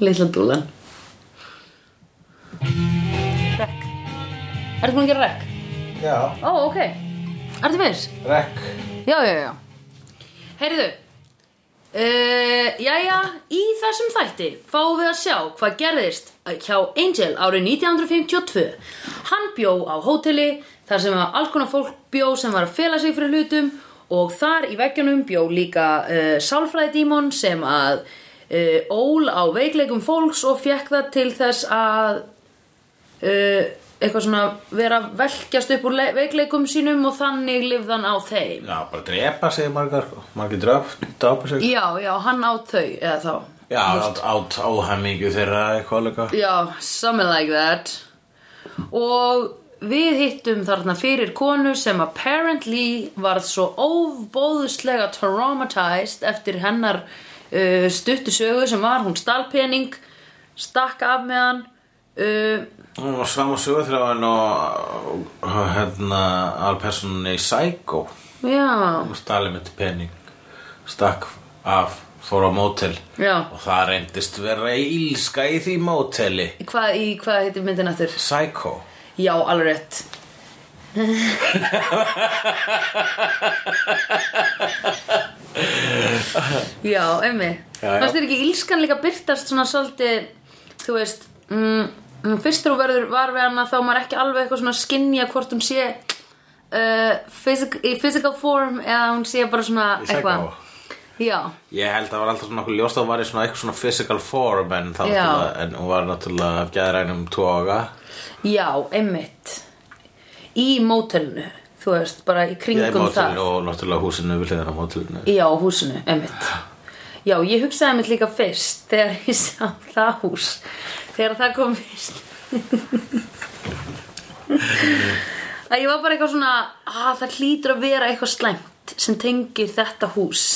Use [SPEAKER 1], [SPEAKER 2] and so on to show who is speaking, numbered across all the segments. [SPEAKER 1] Lilla dúlan.
[SPEAKER 2] Rekk. Ertu búin að gera rekk?
[SPEAKER 3] Já,
[SPEAKER 2] Ó, ok. Ertu viss?
[SPEAKER 3] rekk.
[SPEAKER 2] Já, já, já. Heyrðu. Uh, jæja, í þessum þætti fáum við að sjá hvað gerðist hjá Angel árið 1952. Hann bjó á hóteli þar sem að alls konar fólk bjó sem var að fela sig fyrir hlutum og þar í veggjanum bjó líka uh, sálfræðidímon sem að uh, ól á veikleikum fólks og fekk það til þess að uh, eitthvað svona vera að velkjast upp úr le- veikleikum sínum og þannig lifðan á þeim.
[SPEAKER 3] Já, bara drepa sig margar, sko. margir dröft, drapa sig.
[SPEAKER 2] Já, já, hann á þau eða þá.
[SPEAKER 3] Já, át, át áhæmmingu þeirra eitthvað líka.
[SPEAKER 2] Já, something like that Og við hittum þarna fyrir konu sem apparently varð svo óbóðuslega traumatized eftir hennar uh, stuttu sögu sem var hún stalpening, stakk af með hann uh,
[SPEAKER 3] Hún var sama sögur þegar hann og og, hérna alpersonunni í Psycho.
[SPEAKER 2] Já,
[SPEAKER 3] Hún stali með pening, stakk af, fór á mótel.
[SPEAKER 2] Já.
[SPEAKER 3] Og það reyndist vera ílska í því móteli.
[SPEAKER 2] hvað, í, hvað heitir myndin eftir?
[SPEAKER 3] Psycho.
[SPEAKER 2] Já, alveg rétt Já, emmi
[SPEAKER 3] Já, já.
[SPEAKER 2] Fannst þér ekki ílskan líka byrtast svona svolítið Þú veist mm, mm, Fyrst þú verður var við hana þá er maður ekki alveg eitthvað svona að skynja hvort hún sé uh, physic, í physical form eða hún sé bara svona
[SPEAKER 3] Í Psycho.
[SPEAKER 2] eitthvað Já,
[SPEAKER 3] Ég held að það var alltaf svona okkur ljóst að hún var í svona eitthvað svona physical form en, það
[SPEAKER 2] Já.
[SPEAKER 3] náttúrulega- en hún var náttúrulega af gæðrænum toga.
[SPEAKER 2] já, emmitt Í mótelinu, þú veist, bara í
[SPEAKER 3] Já, í
[SPEAKER 2] kringum það
[SPEAKER 3] mótelinu og náttúrulega húsinu við hliðan á mótelinu.
[SPEAKER 2] Já, á húsinu, einmitt Já, ég hugsaði einmitt líka fyrst þegar ég sá það hús þegar það kom fyrst að ég var bara eitthvað svona að það hlýtur að vera eitthvað slæmt sem tengir þetta hús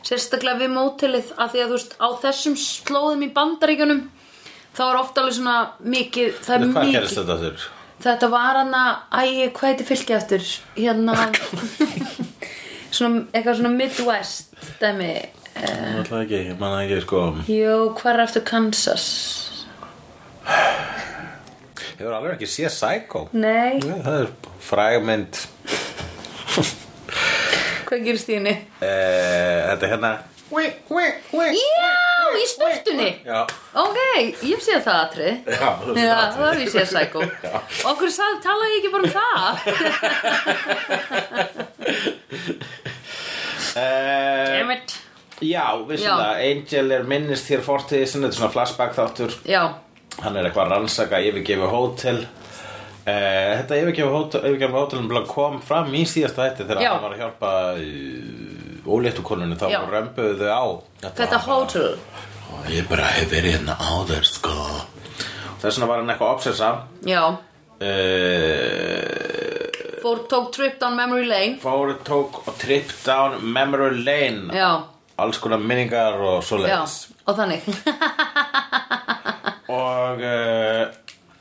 [SPEAKER 2] sérstaklega við mótilið að því að þú veist á þessum slóðum í bandaríkjunum þá er ofta alveg svona mikið það er
[SPEAKER 3] En hvað
[SPEAKER 2] mikið
[SPEAKER 3] gerist þetta þurr?
[SPEAKER 2] Þetta var hann að, æ, hvað heitir fylgið aftur? Hérna, svona, eitthvað svona Midwest, dæmi. Eh,
[SPEAKER 3] Ég ætla ekki, ég manna ekki sko
[SPEAKER 2] Jú, hvað er aftur Kansas?
[SPEAKER 3] Ég var alveg ekki séð Psycho
[SPEAKER 2] Nei,
[SPEAKER 3] Nei, Það er frægmynd
[SPEAKER 2] hvað gerist í henni?
[SPEAKER 3] eh, Þetta er hérna
[SPEAKER 2] Já, í spurtunni!
[SPEAKER 3] Já,
[SPEAKER 2] Ok, ég sé það atrið.
[SPEAKER 3] já, þú veist
[SPEAKER 2] Já,
[SPEAKER 3] það.
[SPEAKER 2] það er ég séð sækó. Okkur sagði, talaði ég ekki bara um það?
[SPEAKER 3] Eh,
[SPEAKER 2] Dammit.
[SPEAKER 3] Já, vissulega, Angel er minnist hér fortíði sinni, þetta er svona flashback þáttur sko.
[SPEAKER 2] Já,
[SPEAKER 3] Hann er eitthvað að rannsaka, yfirgefi hótel Uh, þetta yfirgefa hótel, yfirgefa hótelum bara kom fram í síðasta þætti þegar
[SPEAKER 2] Já.
[SPEAKER 3] hann var að hjálpa uh, óléttu konunni þá
[SPEAKER 2] Já.
[SPEAKER 3] römbuðu þau á Þetta,
[SPEAKER 2] þetta
[SPEAKER 3] var bara-
[SPEAKER 2] hótel.
[SPEAKER 3] Og Ég bara hef verið hérna áður sko Þess vegna var hann eitthvað obsessa
[SPEAKER 2] Já,
[SPEAKER 3] uh,
[SPEAKER 2] fór, tók trip down memory lane.
[SPEAKER 3] Fóru tók og trip down memory lane
[SPEAKER 2] Já,
[SPEAKER 3] Alls konar minningar og
[SPEAKER 2] já,
[SPEAKER 3] svoleiðis
[SPEAKER 2] og þannig.
[SPEAKER 3] Og uh,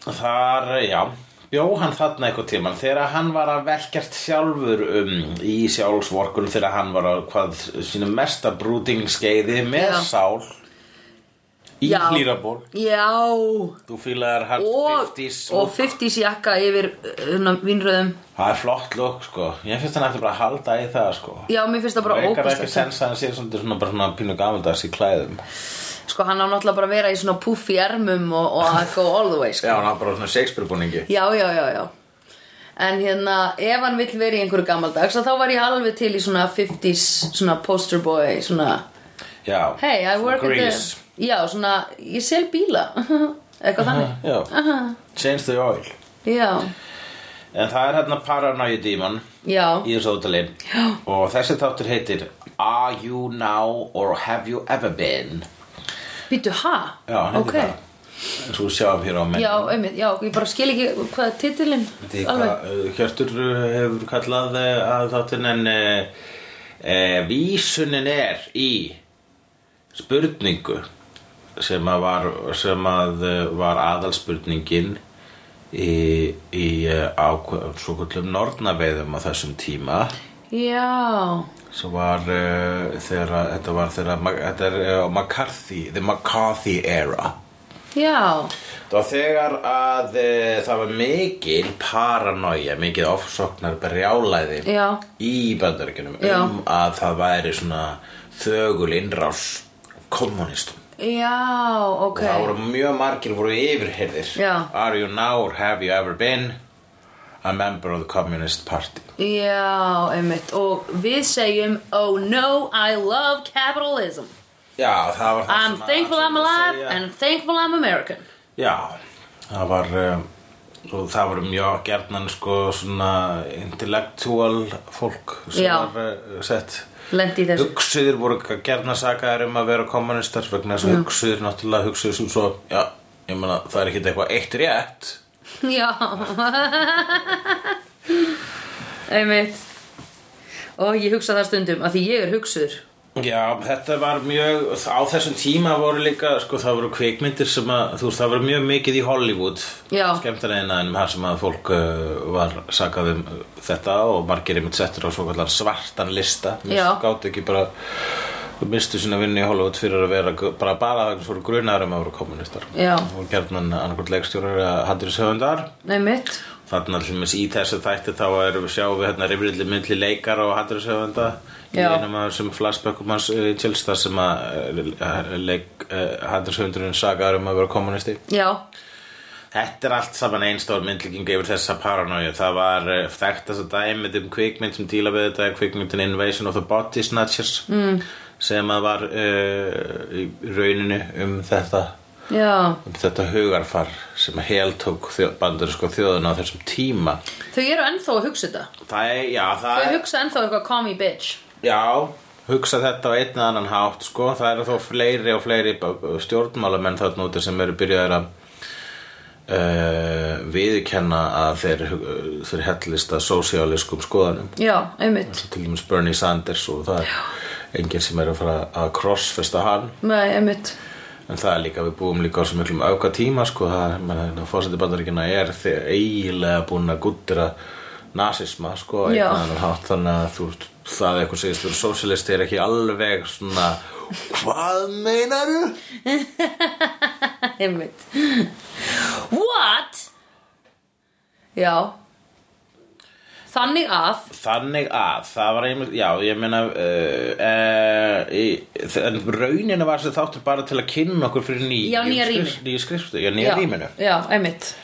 [SPEAKER 3] þar, já Bjó hann þarna eitthvað tíman þegar hann var að velkjast sjálfur um í sjálfsvorkun þegar hann var að hvað sínu mesta brútingskeiði með
[SPEAKER 2] Já.
[SPEAKER 3] sál í
[SPEAKER 2] Já.
[SPEAKER 3] hlýraból
[SPEAKER 2] Já.
[SPEAKER 3] Þú fílaðar hard
[SPEAKER 2] og
[SPEAKER 3] 50s
[SPEAKER 2] og
[SPEAKER 3] look.
[SPEAKER 2] 50s jakka yfir uh, vinnröðum
[SPEAKER 3] Það er flott lukk sko Ég finnst hann eftir bara að halda í það sko
[SPEAKER 2] já, mér finnst það bara
[SPEAKER 3] Reykar ekki
[SPEAKER 2] ógæst
[SPEAKER 3] sens að hann sé svona, svona, bara svona pínu gamaldags í klæðum
[SPEAKER 2] sko hann á náttúrulega bara að vera í svona puffi ermum og, og að go all the way sko.
[SPEAKER 3] Já, hann var bara svona Shakespeare búningi
[SPEAKER 2] já, já, já, já en hérna, ef hann vill vera í einhverju gammaldags þá var ég alveg til í svona 50s svona poster boy svona,
[SPEAKER 3] Já,
[SPEAKER 2] hey, I work at
[SPEAKER 3] Grease
[SPEAKER 2] the já, svona, ég sel bíla eitthvað þannig
[SPEAKER 3] Já, change the oil
[SPEAKER 2] já,
[SPEAKER 3] En það er hérna Paranoia Demon
[SPEAKER 2] já,
[SPEAKER 3] í þessu ótali Og þessi þáttur heitir Are you now or have you ever been?
[SPEAKER 2] býtu ha
[SPEAKER 3] Já, hann heitir
[SPEAKER 2] ok,
[SPEAKER 3] það En svo sjáum hér á menn
[SPEAKER 2] já, einmitt, já, ég bara skil ekki hvað er titilinn
[SPEAKER 3] Því hvað uh, Hjörtur uh, hefur kallað uh, að þáttinn en uh, uh, vísunin er í spurningu sem að var, sem að, uh, var aðalspurningin í, í uh, ákveð, svo kvöldum nornaveiðum á þessum tíma
[SPEAKER 2] Já,
[SPEAKER 3] sem var uh, þegar að- þetta var þegar að- þetta er uh, McCarthy, the McCarthy era
[SPEAKER 2] já,
[SPEAKER 3] og þegar að uh, það var mikil paranoia mikið ofsóknar brjálæði
[SPEAKER 2] Já.
[SPEAKER 3] í bandaríkjunum
[SPEAKER 2] Já.
[SPEAKER 3] um að það væri svona þögul innrás kommunistum
[SPEAKER 2] já, ok
[SPEAKER 3] og það voru mjög margir voru yfirheyrðir
[SPEAKER 2] Já.
[SPEAKER 3] are you now or have you ever been a member of the communist party
[SPEAKER 2] Já, einmitt Og við segjum Oh no, I love capitalism
[SPEAKER 3] já það var það
[SPEAKER 2] I'm
[SPEAKER 3] sem að-
[SPEAKER 2] thankful I'm
[SPEAKER 3] sem að
[SPEAKER 2] alive
[SPEAKER 3] segja.
[SPEAKER 2] and I'm thankful I'm American
[SPEAKER 3] Já, það var um, og það var mjög gerðnan sko svona intellectual fólk sem
[SPEAKER 2] Já.
[SPEAKER 3] var uh, sett
[SPEAKER 2] Lendi í þessu
[SPEAKER 3] Hugsuðir voru gerðna sakaðar um að vera kommunistar vegna þess að hugsuðir náttúrulega hugsuðir sem svo, já, ég meina það er ekkit eitthvað eitt rétt
[SPEAKER 2] Já Einmitt Og ég hugsa það stundum að því ég er hugsuður
[SPEAKER 3] Já, þetta var mjög, á þessum tíma voru líka, sko, það voru kvikmyndir sem að, þú veist, það voru mjög mikið í Hollywood
[SPEAKER 2] Já.
[SPEAKER 3] skemmtilegina en þar sem að fólk uh, var sakað um uh, þetta og margir einmitt settur á svo kallar svartan lista
[SPEAKER 2] Já.
[SPEAKER 3] gátt ekki bara mistu sína vinnu í Hollywood fyrir að vera gu- bara bara þess voru grunar um að voru kommunistar
[SPEAKER 2] Já.
[SPEAKER 3] og gerðnan annarkvort leikstjórar að hattur í sögundar
[SPEAKER 2] Einmitt
[SPEAKER 3] Þannig að til dæmis í þessu þætti þá erum við sjáum við hérna rifrildi myndli leikar og hatturisöfunda í
[SPEAKER 2] Já.
[SPEAKER 3] einum af þessum flashbackum hans uh, Chilsta sem að uh, leik uh, hatturisöfundurinn sagaður um að vera kommunisti.
[SPEAKER 2] Já,
[SPEAKER 3] Þetta er allt saman einstór myndlíking yfir þessa paranoia. Það var uh, þekkt þess að dæmið um kvikmynd sem díla við þetta er kvikmyndin Invasion of the Body Snatchers mm. sem að var uh, í rauninu um þetta
[SPEAKER 2] já
[SPEAKER 3] um þetta hugarfar sem heltók þjó, bandur sko þjóðuna á þessum tíma
[SPEAKER 2] Þau eru ennþá að hugsa þetta
[SPEAKER 3] Það er, já, það
[SPEAKER 2] Þau
[SPEAKER 3] er,
[SPEAKER 2] hugsa ennþá eitthvað call me bitch
[SPEAKER 3] já, hugsa þetta á einn eða annan hátt, sko, það eru þó fleiri og fleiri b- b- stjórnmálamenn þarna úti sem eru byrjaðir að uh, viðkenna að þeir, hug- þeir hellist að sósíaliskum skoðanum,
[SPEAKER 2] Já, einmitt
[SPEAKER 3] til dæmis Bernie Sanders og það er enginn sem er að fara að crossfesta hann,
[SPEAKER 2] Nei, einmitt
[SPEAKER 3] en það er líka, við búum líka á svo miklum auka tíma, sko, það er, menn, fórseti bandaríkina er þegar eiginlega búin að guddira nasisma, sko, á einn
[SPEAKER 2] Já.
[SPEAKER 3] eða annan hátt, þannig að þú veist, það að eitthvað segist, þú eru sósialisti er ekki alveg svona, hvað meinaru?
[SPEAKER 2] Einmitt What? Já Þannig að
[SPEAKER 3] Þannig að, það var einmitt, já, ég meina, uh, uh, en rauninu var sem þáttur bara til að kynna okkur fyrir ný,
[SPEAKER 2] Já, nýja rými.
[SPEAKER 3] nýja skrifstu, já, nýja
[SPEAKER 2] Já,
[SPEAKER 3] rýminu.
[SPEAKER 2] Já, einmitt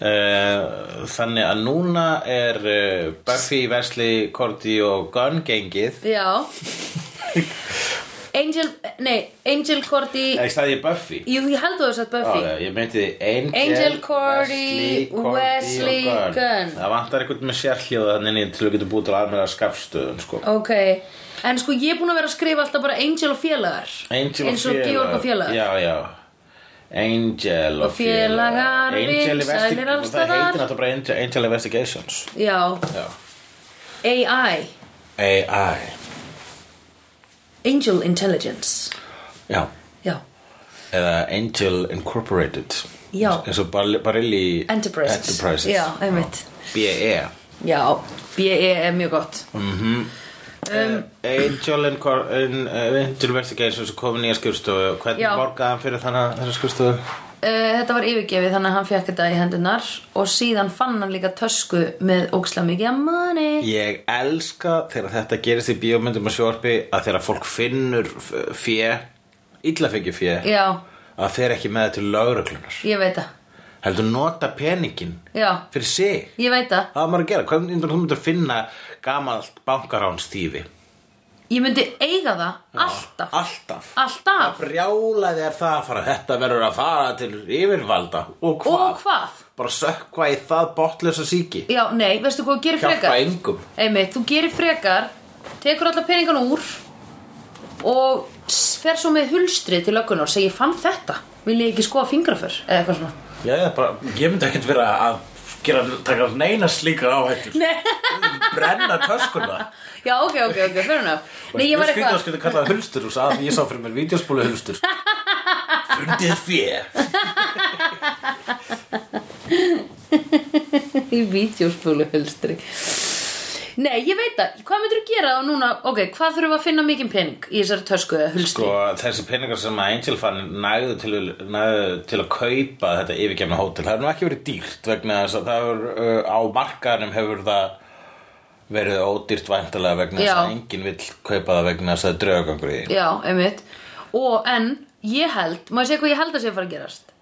[SPEAKER 3] Eh, þannig að núna er uh, Buffy, Wesley, Cordy og Gunn gengið
[SPEAKER 2] Já Angel, nei, Angel Cordy
[SPEAKER 3] Ég staði ég Buffy
[SPEAKER 2] Jú, ég held þú þess að Buffy
[SPEAKER 3] Á, Ég meinti Angel,
[SPEAKER 2] Angel, Cordy, Wesley,
[SPEAKER 3] og
[SPEAKER 2] Gunn.
[SPEAKER 3] Það vantar eitthvað með sérhljóða þannig inn í til að geta búið til aðmjöla skafstöðun sko.
[SPEAKER 2] Ok En sko, ég er búin að vera að skrifa alltaf bara Angel og félagar
[SPEAKER 3] Angel
[SPEAKER 2] Eins og
[SPEAKER 3] félagar.
[SPEAKER 2] Georg og félagar
[SPEAKER 3] Já, já Angel
[SPEAKER 2] Og
[SPEAKER 3] og
[SPEAKER 2] félagar,
[SPEAKER 3] Angel
[SPEAKER 2] vinsælir
[SPEAKER 3] Investi-
[SPEAKER 2] alls
[SPEAKER 3] Það
[SPEAKER 2] staðar.
[SPEAKER 3] heitir náttúrulega bara Angel, Angel Investigations
[SPEAKER 2] Já,
[SPEAKER 3] Já.
[SPEAKER 2] AI
[SPEAKER 3] AI
[SPEAKER 2] Angel Intelligence
[SPEAKER 3] Já
[SPEAKER 2] Já,
[SPEAKER 3] Eða Angel Incorporated
[SPEAKER 2] Já.
[SPEAKER 3] eins og Bar- Barilli
[SPEAKER 2] Enterprises
[SPEAKER 3] Enterprises. E.
[SPEAKER 2] Já, einmitt
[SPEAKER 3] BE
[SPEAKER 2] Já, BE er mjög gott
[SPEAKER 3] um, Angel and Cor- in, uh, Angel Investigations er komin í að skrifstofu hvernig
[SPEAKER 2] Já.
[SPEAKER 3] borgaði hann fyrir þannig þessar skrifstofu?
[SPEAKER 2] Uh, þetta var yfirgefið þannig að hann fekk þetta í hendunar og síðan fann hann líka tösku með óksla mikið að manni
[SPEAKER 3] Ég elska þegar þetta gerist í bíómyndum og sjórpi að þegar fólk finnur f- fé illa fengi fé
[SPEAKER 2] Já,
[SPEAKER 3] að þeir ekki með þetta til lögreglunar
[SPEAKER 2] ég veit það
[SPEAKER 3] heldur nota peningin
[SPEAKER 2] Já,
[SPEAKER 3] fyrir sig
[SPEAKER 2] ég veit það
[SPEAKER 3] það var maður að gera, hvernig myndir þú myndir finna gamalt bankaránstífi
[SPEAKER 2] Ég myndi eiga það alltaf
[SPEAKER 3] alltaf
[SPEAKER 2] Alltaf
[SPEAKER 3] brjálaði er það að fara þetta verður að fara til yfirvalda og hvað?
[SPEAKER 2] Og hvað?
[SPEAKER 3] bara sökva í það botlösa síki
[SPEAKER 2] Já, nei, veistu hvað þú gerir
[SPEAKER 3] hjálpa
[SPEAKER 2] frekar?
[SPEAKER 3] engum
[SPEAKER 2] Einmitt, þú gerir frekar Tekur alla peningan úr Og s- fer svo með hulstrið til löggunar og segir, ég fann þetta Vil ég ekki skoða fingraför? Eða eitthvað svona
[SPEAKER 3] Já, ég, bara, ég myndi ekkert vera að gera, taka neina slíkar áhættur brenna töskuna
[SPEAKER 2] Já, ok, ok, ok, fair enough Nei, ég var
[SPEAKER 3] skrýta að
[SPEAKER 2] eitthvað
[SPEAKER 3] skilja kallað hulstur og sagði að ég sá fyrir mér vídeospólu hulstur fundið fjö
[SPEAKER 2] í vídeospúlu hulstri Nei, ég veit það, hvað myndirðu gera þá núna Ok, hvað þurfum við að finna mikinn pening í þessari tösku eða hulstu?
[SPEAKER 3] Sko, þessi peningar sem að Angel fann nægðu til, nægðu til að kaupa þetta yfirgefna hótel það er nú ekki verið dýrt vegna þess að það er uh, á markaðanum hefur það verið ódýrt væntalega vegna þess
[SPEAKER 2] Já.
[SPEAKER 3] að enginn vill kaupa það vegna þess að það er draugagangur í því.
[SPEAKER 2] Já, einmitt Og en, ég held, má ég segja hvað ég held að sé að fara að gerast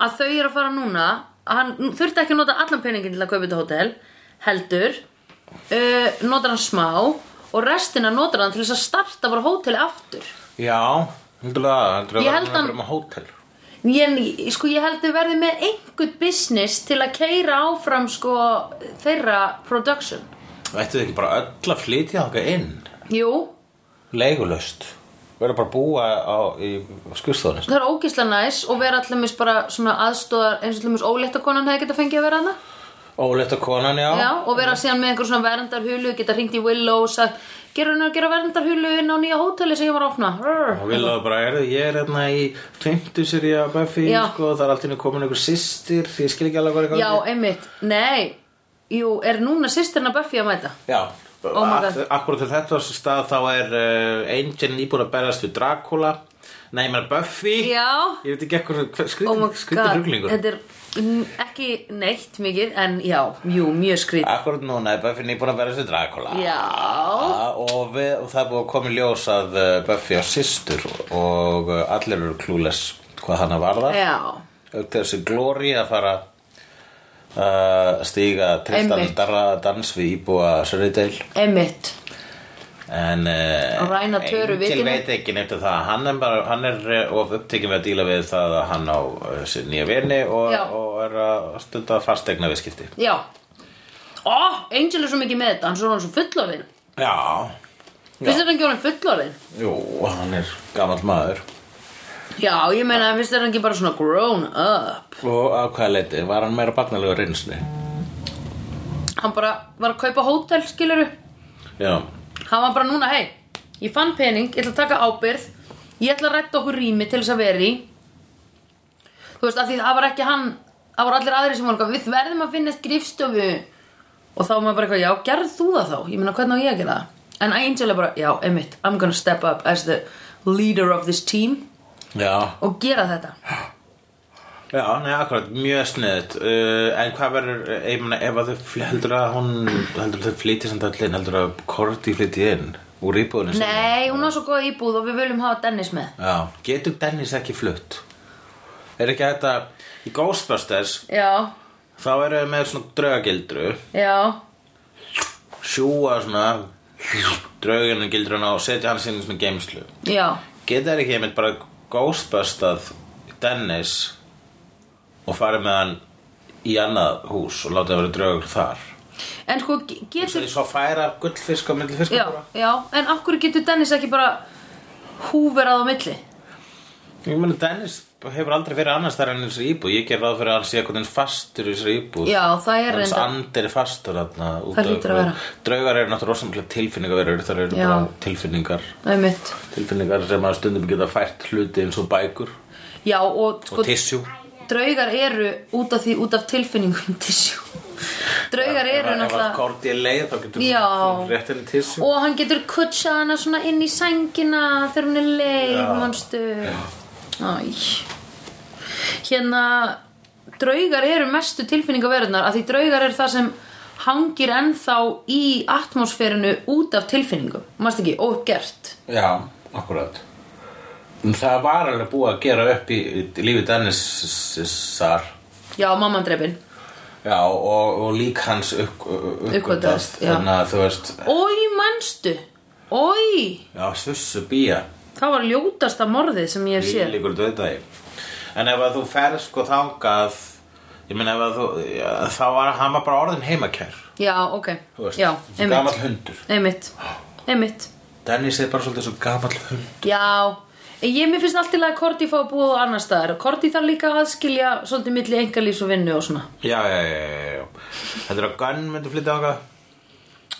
[SPEAKER 2] Að þau eru að fara núna að Hann nú þurfti ekki að nota allan peningin til að kaupa þetta hótel Heldur uh, Notar hann smá Og restina notar hann til þess að starta bara hóteli aftur
[SPEAKER 3] Já, heldur það, heldur það
[SPEAKER 2] Ég held hann-
[SPEAKER 3] verður bara með hótel
[SPEAKER 2] Ég, sko, ég held við verðum með einhvern business til að keira áfram sko, þeirra production
[SPEAKER 3] Ættu þið ekki bara öll að flytja þangað inn
[SPEAKER 2] Jú,
[SPEAKER 3] leigulöst verður bara að búa á, í skurstofunist
[SPEAKER 2] það er ógislega næs og vera allumis bara svona aðstóðar eins og allumis ólétta konan hefði geta fengið að vera hana
[SPEAKER 3] Óleita konan, já,
[SPEAKER 2] Já, og vera síðan með einhver svona verndarhulu geta hringt í Willow og sagt gerur hann að gera verndarhulu inn á nýja hóteli sem ég var að opna Rrr.
[SPEAKER 3] og vil það bara er ég er hérna í 50 seríu að Buffy
[SPEAKER 2] Já.
[SPEAKER 3] sko, það er alltaf komin einhver systir ég skil ekki alveg hvað er í
[SPEAKER 2] Já,
[SPEAKER 3] gangi.
[SPEAKER 2] einmitt, nei Jú, er núna sýstirna Buffy að mæta?
[SPEAKER 3] já.
[SPEAKER 2] Oh my God.
[SPEAKER 3] Ak- akkurat til þetta stað þá er uh, Angel nýbúin að berast við Dracula nei, ég meina Buffy
[SPEAKER 2] Já.
[SPEAKER 3] ég veit ekki eitthvað
[SPEAKER 2] Oh my
[SPEAKER 3] skrýtir
[SPEAKER 2] god,
[SPEAKER 3] skrýti ruglingur
[SPEAKER 2] þetta er mm, ekki neitt mikið en já, jú, mjög skrýt
[SPEAKER 3] akkurat núna er Buffy nýbúin að berast við Dracula
[SPEAKER 2] Já,
[SPEAKER 3] og, við, og það er búið að koma í ljós að uh, Buffy á systur og uh, allir eru klúles hvað hana varðar
[SPEAKER 2] já
[SPEAKER 3] auk þessi glóri að fara að stíga trilltan
[SPEAKER 2] Einmitt.
[SPEAKER 3] darra dans við íbúa Sörðidæl
[SPEAKER 2] Einmitt,
[SPEAKER 3] en uh,
[SPEAKER 2] Og ræna töru
[SPEAKER 3] Angel
[SPEAKER 2] vitinu.
[SPEAKER 3] veit ekki nefnt að það hann er, bara, hann er eh, of upptekið með að díla við það að hann á eh, sér nýja vini og,
[SPEAKER 2] Já.
[SPEAKER 3] og er að stunda fastegna viðskipti
[SPEAKER 2] já Ó, Angel er svo mikið með þetta, hann er svo hann svo fullorðin
[SPEAKER 3] Já,
[SPEAKER 2] Finnst þér hann ekki orðin fullorðin?
[SPEAKER 3] jú, hann er gamall maður
[SPEAKER 2] Já, ég meina, finnst þér hann ekki bara svona grown up
[SPEAKER 3] og á hvaða leiti, var hann meira barnalega reynsni?
[SPEAKER 2] Hann bara var að kaupa hótel, skiluru
[SPEAKER 3] Já,
[SPEAKER 2] Hann var bara núna, hei, ég fann pening, ég ætla að taka ábyrð Ég ætla að rætta okkur rými til þess að vera í Þú veist, af því það var ekki hann Það voru allir aðrir sem voru eitthvað, við verðum að finna skrifstofu Og þá var maður bara eitthvað, já, gerð þú það þá? Ég meina, hvernig á ég að gera það? En Angel er bara, já, einmitt, I'm gonna step up as the leader of this team
[SPEAKER 3] já
[SPEAKER 2] Og gera þetta
[SPEAKER 3] Já, nei, akkurat, mjög sniðut uh, En hvað verður, eh, ég meina, ef að þau fl- heldur að hún, heldur að þau flytir sem allir inn, heldur að Korti flytir inn úr íbúðinu sinni?
[SPEAKER 2] Nei, hún á svo góð íbúð og við viljum hafa Dennis með
[SPEAKER 3] Já, getur Dennis ekki flutt? Er ekki þetta, í Ghostbusters
[SPEAKER 2] Já,
[SPEAKER 3] þá eru þau með svona draugagildru
[SPEAKER 2] já,
[SPEAKER 3] sjúa svona drauginu gildruna og setja hann sinni svona geimslu
[SPEAKER 2] já
[SPEAKER 3] Getur þær ekki einmitt bara Ghostbustað Dennis og farið með hann í annað hús og látið að vera draugur þar?
[SPEAKER 2] En sko, ge- getur
[SPEAKER 3] Svo ég svo færa gullfisk á milli fiska
[SPEAKER 2] já, já, en af hverju getur Dennis ekki bara húverað á milli?
[SPEAKER 3] Ég meni Dennis hefur aldrei verið annars þar enn þessari íbúð Ég ger ráð fyrir að hann sé eitthvað einn fastur í þessari íbúð
[SPEAKER 2] Já, það er
[SPEAKER 3] Hans
[SPEAKER 2] reynda
[SPEAKER 3] andir er fastur þarna út
[SPEAKER 2] Það
[SPEAKER 3] af
[SPEAKER 2] hlýtur að
[SPEAKER 3] einhverju.
[SPEAKER 2] vera.
[SPEAKER 3] Draugar eru náttúrulega rosamlega tilfinningaverur Það eru
[SPEAKER 2] Já.
[SPEAKER 3] bara tilfinningar
[SPEAKER 2] einmitt.
[SPEAKER 3] Tilfinningar sem að stundum geta fært hluti eins og bækur
[SPEAKER 2] Já, og
[SPEAKER 3] Og
[SPEAKER 2] sko,
[SPEAKER 3] tissjú
[SPEAKER 2] draugar eru út af því, út af tilfinningum tissjú Draugar eru
[SPEAKER 3] Ef að
[SPEAKER 2] náttúrulega
[SPEAKER 3] korti er leið þá getur
[SPEAKER 2] Já.
[SPEAKER 3] rétt henni tissjú
[SPEAKER 2] Og hann getur kutsja hana svona inn í sængina þegar hún er leið, manstu Æ Hérna, draugar eru mestu tilfinningaverðnar af því draugar eru það sem hangir ennþá í atmosfærinu út af tilfinningum, manstu ekki, óuppgert
[SPEAKER 3] Já, akkurat En Það var alveg búið að gera upp í, í lífi Dennisar
[SPEAKER 2] Já, mamman drefin
[SPEAKER 3] Já, og, og lík hans upp, uppgötast
[SPEAKER 2] já.
[SPEAKER 3] Þannig að þú veist
[SPEAKER 2] Ói, manstu Ói,
[SPEAKER 3] Já, sussu bía
[SPEAKER 2] það var ljótasta morðið sem ég hef séð
[SPEAKER 3] Líkur döðdagi En ef að þú ferð sko þangað Ég meina ef að þú já, Þá var hann var bara orðin heimakær
[SPEAKER 2] Já, ok,
[SPEAKER 3] Þú veist,
[SPEAKER 2] já,
[SPEAKER 3] svo gamall
[SPEAKER 2] einmitt
[SPEAKER 3] hundur
[SPEAKER 2] Einmitt, einmitt
[SPEAKER 3] Dennis er bara svolítið svo gamall hund
[SPEAKER 2] Já, ég mér finnst alltaf að Korti fá að búa á annar staðar Korti þarf líka að skilja svolítið milli engalífs og vinnu og svona
[SPEAKER 3] Já, já, já, já, já. Þetta er að Gunn myndi flytta þangað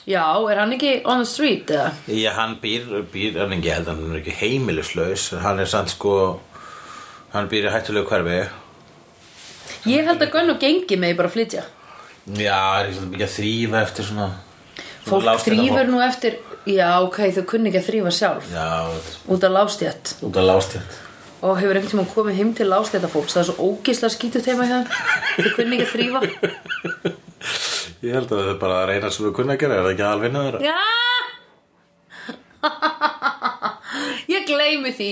[SPEAKER 2] Já, er hann ekki on the street eða?
[SPEAKER 3] Já, hann býr, býr en ég held að hann er ekki heimilislaus Hann er samt sko Hann býr í hættulegu hverfi
[SPEAKER 2] Ég held að Gunn og gengi mig bara að flytja
[SPEAKER 3] Já, er ekki svolítið mikið að þrýfa eftir svona
[SPEAKER 2] Fólk
[SPEAKER 3] lágstétta
[SPEAKER 2] þrýfur
[SPEAKER 3] fólk.
[SPEAKER 2] nú eftir Já, ok, þau kunni ekki að þrýfa sjálf
[SPEAKER 3] Já, þetta
[SPEAKER 2] Út af lástjætt
[SPEAKER 3] er út að lást hér
[SPEAKER 2] Og hefur einhvern tímann komið heim til lástjætta fólks Það er svo ógislega skítut heima hjá þeim Þau kunni ekki að þrýfa
[SPEAKER 3] Ég held að þetta er bara að reyna sem við kunna að gera Er það ekki alvinna þeirra?
[SPEAKER 2] Já Ég gleymi því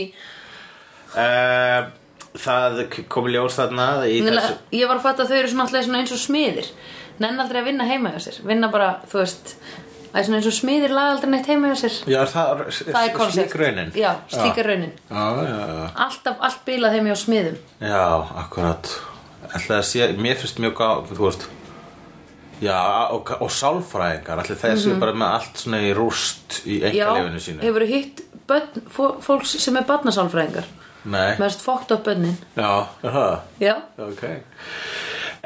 [SPEAKER 3] Uh, það kom í ljós þarna í þessu
[SPEAKER 2] Nefnilega, Ég var að fatta að þau eru svona alltaf svona eins og smiðir Nenn aldrei að vinna heima hjá sér Vinna bara, þú veist Það er svona eins og smiðir laga aldrei neitt heima hjá sér
[SPEAKER 3] Já, er það,
[SPEAKER 2] Það er koncept
[SPEAKER 3] slík raunin
[SPEAKER 2] Já, slík er raunin
[SPEAKER 3] Já, já,
[SPEAKER 2] Alltaf, allt bilað heima hjá smiðum
[SPEAKER 3] já, já, akkurat Ætli að sé, mér finnst mjög gá, þú veist Já, og, og sálfræðingar Ætli það séu bara með allt svona í rúst í
[SPEAKER 2] Mhm. Já,
[SPEAKER 3] einkalefinu sínu
[SPEAKER 2] hefur hitt börn, fó- fólks sem er barnasálfræðingar
[SPEAKER 3] Nei,
[SPEAKER 2] Mest fókt upp bönnin
[SPEAKER 3] já, er það
[SPEAKER 2] Já,
[SPEAKER 3] Ok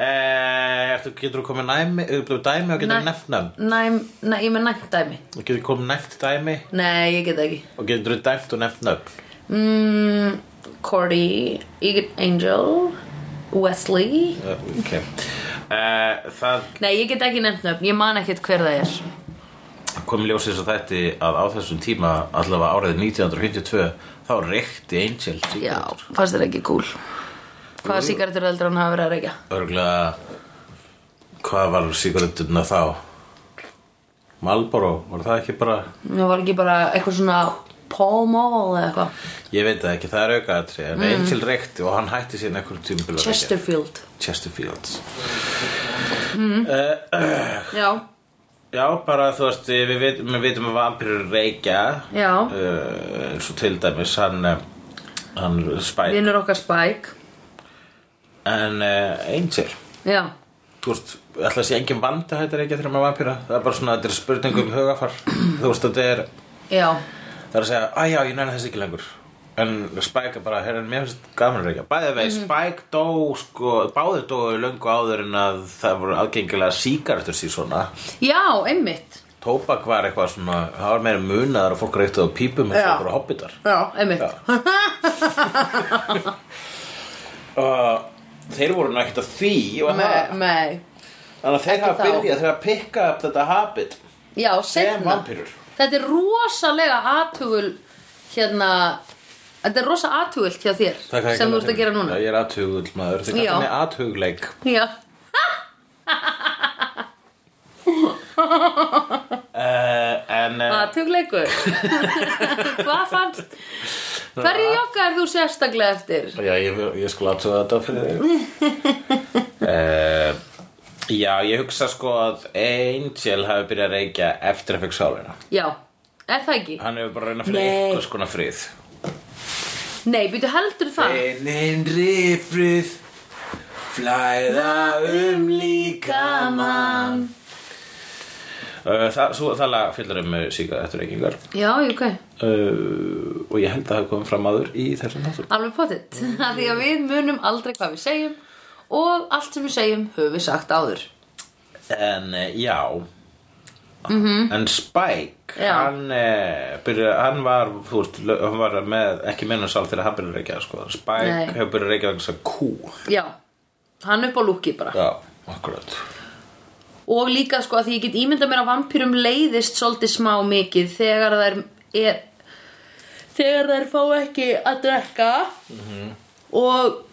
[SPEAKER 3] Eh, ertu, getur þú komið næmi, uh, dæmi og getur
[SPEAKER 2] Næ-
[SPEAKER 3] þú nefnt nefn
[SPEAKER 2] næm, næ, ég með næmt dæmi
[SPEAKER 3] og getur þú komið nefnt dæmi
[SPEAKER 2] Nei, ég get það ekki
[SPEAKER 3] og getur þú dæmt og nefnt nöfn
[SPEAKER 2] mm, Cordy, Egan Angel Wesley
[SPEAKER 3] Eh, ok Eh, það
[SPEAKER 2] Nei, ég get ekki nefnt nöfn, ég man ekkert hver það er
[SPEAKER 3] kom ljósið svo þetta að á þessum tíma allavega árið 1952 þá reykti Angel
[SPEAKER 2] Já,
[SPEAKER 3] sígarettur.
[SPEAKER 2] fannst þér ekki cool Hvaða sígarettur heldur hann hafa verið að reykja?
[SPEAKER 3] örgulega hvað var sígaretturna þá Marlboro, var það ekki bara
[SPEAKER 2] Það var ekki bara eitthvað svona Pall Mall eða eitthvað
[SPEAKER 3] ég veit það ekki, það er aukaðatri en Angel reykti og hann hætti síðan einhverjum tíma
[SPEAKER 2] Chesterfield
[SPEAKER 3] Chesterfield
[SPEAKER 2] Já,
[SPEAKER 3] já, bara þú veist við vitum, við vitum að vampirur reykja
[SPEAKER 2] já,
[SPEAKER 3] uh, eins og til dæmis hann, eh, hann Spike
[SPEAKER 2] vinnur okkar Spike
[SPEAKER 3] en uh, Angel
[SPEAKER 2] Já,
[SPEAKER 3] þú veist, ætla að sé engin vandi að þetta er ekki þegar maður vampýra það er bara svona, þetta er spurning um hugafar þú veist, þetta er,
[SPEAKER 2] já
[SPEAKER 3] það er að segja að já, ég næna þess ekki lengur en Spike er bara, herrinn, mér finnst gaman að reykja bæði vei, Spike dó, sko báði dói löngu áður en að það voru aðgengilega síkartur síð svona
[SPEAKER 2] Já, einmitt
[SPEAKER 3] tóbak var eitthvað svona, það var meira munaðar og fólk reyktaði á pípum eins
[SPEAKER 2] Já.
[SPEAKER 3] og okkur á hobbitar
[SPEAKER 2] Já, einmitt
[SPEAKER 3] Já. og þeir voru nægt að því og
[SPEAKER 2] Nei,
[SPEAKER 3] það,
[SPEAKER 2] nei.
[SPEAKER 3] þannig að þeir
[SPEAKER 2] Ekki þá.
[SPEAKER 3] hafa byrjað þeir hafa pikkað upp þetta habit
[SPEAKER 2] Já,
[SPEAKER 3] sem
[SPEAKER 2] setna
[SPEAKER 3] vampýrur
[SPEAKER 2] Þetta er rosalega aðtugul hérna Þetta er rosa aðtugult hjá þér
[SPEAKER 3] Það kann ég
[SPEAKER 2] sem þú
[SPEAKER 3] kalla
[SPEAKER 2] ert að
[SPEAKER 3] fyrir.
[SPEAKER 2] gera núna
[SPEAKER 3] Já, ég er aðtugull maður, þið
[SPEAKER 2] Já.
[SPEAKER 3] kallar mig aðtugleik
[SPEAKER 2] Já,
[SPEAKER 3] uh, En uh,
[SPEAKER 2] aðtugleikur Hvað fannst Hverju jogga er þú sérstaklega eftir?
[SPEAKER 3] já, ég, ég skal aðtuga þetta fyrir þig uh, Já, ég hugsa sko að Angel hafi byrjað að reykja eftir að fikk sálina
[SPEAKER 2] Já, er það ekki?
[SPEAKER 3] Hann hefur bara reynað fyrir
[SPEAKER 2] Nei.
[SPEAKER 3] einhvers konar frið
[SPEAKER 2] Nei, býtu heldur það
[SPEAKER 3] Einin rifrið Flæða um líkamann uh, Það, svo, það lag fyllir um síka eftir reykingar
[SPEAKER 2] Já, ok,
[SPEAKER 3] uh, og ég held að það hafi komið fram aður í þessum þáttum
[SPEAKER 2] alveg pottitt Af Því að við munum aldrei hvað við segjum og allt sem við segjum höfum við sagt áður
[SPEAKER 3] en eh, já en Spike
[SPEAKER 2] Mhm. Já.
[SPEAKER 3] hann, eh, byrja, hann var þú veist, lö- hann var með, ekki minna sál þegar hann byrjaði að reykja sko. Spike
[SPEAKER 2] Nei.
[SPEAKER 3] hefur byrjaði að reykja vegna þess að kú
[SPEAKER 2] Já, hann upp á lúki bara
[SPEAKER 3] já, akkurat
[SPEAKER 2] Og líka sko að því ég get ímyndað mér að vampýrum leiðist svolítið smá mikið þegar þær e- er þegar þær fá ekki að drekka og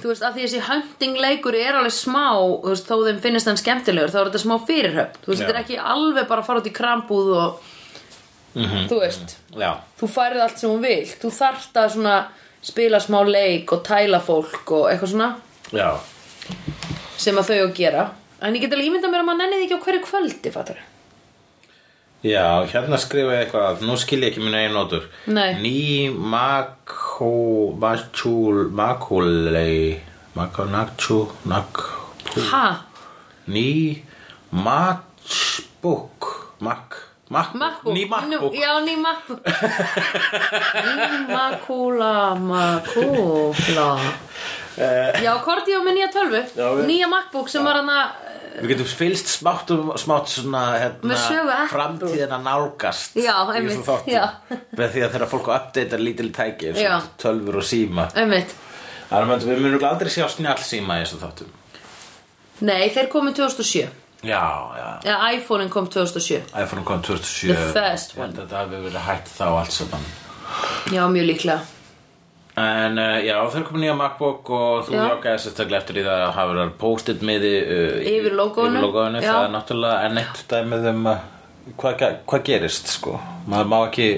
[SPEAKER 2] þú veist að því þessi hunting leikur er alveg smá þú veist, þó þeim finnist hann skemmtilegur þá er þetta smá fyrirhöfn þú veist
[SPEAKER 3] Já.
[SPEAKER 2] þetta er ekki alveg bara að fara út í krambúð og þú veist
[SPEAKER 3] já,
[SPEAKER 2] þú færið allt sem hún vil þú þarft að svona spila smá leik og tæla fólk og eitthvað svona
[SPEAKER 3] já,
[SPEAKER 2] sem að þau á að gera en ég get alveg ímyndað mér að maður nenni því ekki á hverju kvöldi fattar
[SPEAKER 3] já hérna skrifa ég eitthvað að nú skil ég ekki minna einu notur
[SPEAKER 2] Nei.
[SPEAKER 3] ný makó makúl makúlei makó nakú nakú
[SPEAKER 2] ha,
[SPEAKER 3] Ný matchbook Mac, Mac,
[SPEAKER 2] MacBook
[SPEAKER 3] Ný MacBook
[SPEAKER 2] já, ný MacBook ný makúla makúla já, Korti á með nýja tölvu
[SPEAKER 3] Eh. Já, við-
[SPEAKER 2] nýja MacBook sem var eh, hann að
[SPEAKER 3] Við getum fylst smátt og smátt svona hérna,
[SPEAKER 2] Með sögu Apple.
[SPEAKER 3] framtíðina nálgast
[SPEAKER 2] Já,
[SPEAKER 3] í
[SPEAKER 2] einmitt,
[SPEAKER 3] þessum þáttum.
[SPEAKER 2] já.
[SPEAKER 3] með því að þegar fólk uppdata lítil tæki eins og
[SPEAKER 2] Já.
[SPEAKER 3] tölfur og síma
[SPEAKER 2] einmitt
[SPEAKER 3] Þannig að við munum örugglega aldrei sjá snjall síma eins og þáttum
[SPEAKER 2] nei, þeir komu 2007
[SPEAKER 3] Já, já
[SPEAKER 2] eða iPhone-in kom 2007
[SPEAKER 3] iPhone kom 2007
[SPEAKER 2] The first one.
[SPEAKER 3] Ég held að Þetta hafi verið hætt þá allt saman
[SPEAKER 2] já, mjög líklega
[SPEAKER 3] En uh, já, þeir komið nýja MacBook og þú
[SPEAKER 2] Já.
[SPEAKER 3] jákaði sérstaklega eftir í það að hafa verið post-it miði uh, í-
[SPEAKER 2] Yfir logóinu.
[SPEAKER 3] Yfir logóinu,
[SPEAKER 2] Já.
[SPEAKER 3] það er náttúrulega enn eitt dæmið um uh, hvað ga- hvað gerist, sko Maður má ekki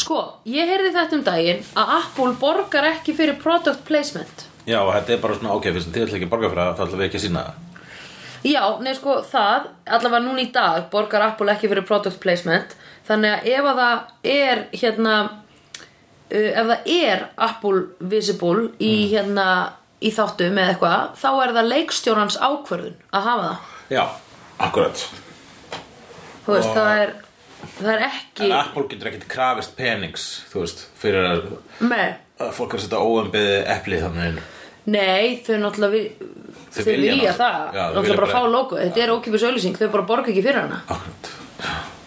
[SPEAKER 2] sko, ég heyrði þetta um daginn að Apple borgar ekki fyrir product placement
[SPEAKER 3] Já, þetta er bara svona ok, fyrst þið ætla ekki að borga fyrir það, þá ætla við ekki að sína það
[SPEAKER 2] Já, nei sko, það, allavega núna í dag borgar Apple ekki fyrir product placement þannig að ef að það er hérna uh, ef það er Apple visible í
[SPEAKER 3] Mm.
[SPEAKER 2] hérna, í þáttum eða eitthvað, þá er það leikstjórans ákvörðun að hafa það
[SPEAKER 3] Já, akkurat
[SPEAKER 2] þú veist, það er það er ekki
[SPEAKER 3] En Apple getur ekkert krafist penings, þú veist, fyrir að,
[SPEAKER 2] með
[SPEAKER 3] að fólk er að setja óumbeðið epli þannig inn
[SPEAKER 2] Nei, þau náttúrulega vil,
[SPEAKER 3] Þau
[SPEAKER 2] þau,
[SPEAKER 3] vilja
[SPEAKER 2] vilja,
[SPEAKER 3] náttúrulega-
[SPEAKER 2] það,
[SPEAKER 3] Já, þau vilja
[SPEAKER 2] náttúrulega bara
[SPEAKER 3] bara- Ah.
[SPEAKER 2] fá logo þetta er ókipis auðlýsing, þau bara borga ekki fyrir hana
[SPEAKER 3] Akkurat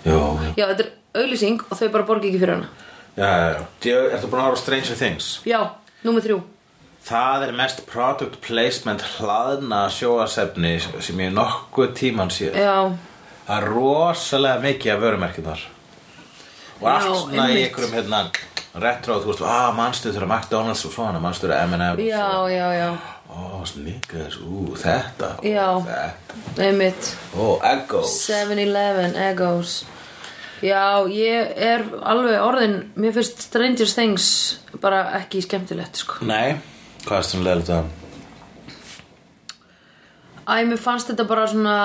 [SPEAKER 3] Já, já
[SPEAKER 2] Já, þetta er auðlýsing og þau bara borga ekki fyrir hana
[SPEAKER 3] Já, já, já. Ertu búin að horfa á Stranger Things?
[SPEAKER 2] Já, númer þrjú
[SPEAKER 3] Það er mest product placement hlaðna sjóasefni sem ég nokkuð tíman sé
[SPEAKER 2] Já,
[SPEAKER 3] Það er rosalega mikið af vörumerkjum þar Og
[SPEAKER 2] Já,
[SPEAKER 3] allt svona í
[SPEAKER 2] einmitt.
[SPEAKER 3] einhverjum hérna retro, þú veist, að manstu þegar McDonalds og svona, manstu þegar M&M
[SPEAKER 2] já, já, já,
[SPEAKER 3] Ó, Snickers, ú, þetta ó,
[SPEAKER 2] Já.
[SPEAKER 3] Þetta,
[SPEAKER 2] einmitt
[SPEAKER 3] ó, Eggos
[SPEAKER 2] 7-Eleven, Eggos Já, ég er alveg orðin Mér finnst Stranger Things bara ekki skemmtilegt sko.
[SPEAKER 3] Nei, hvað er svona leiðilegt að
[SPEAKER 2] Æ, mér fannst þetta bara svona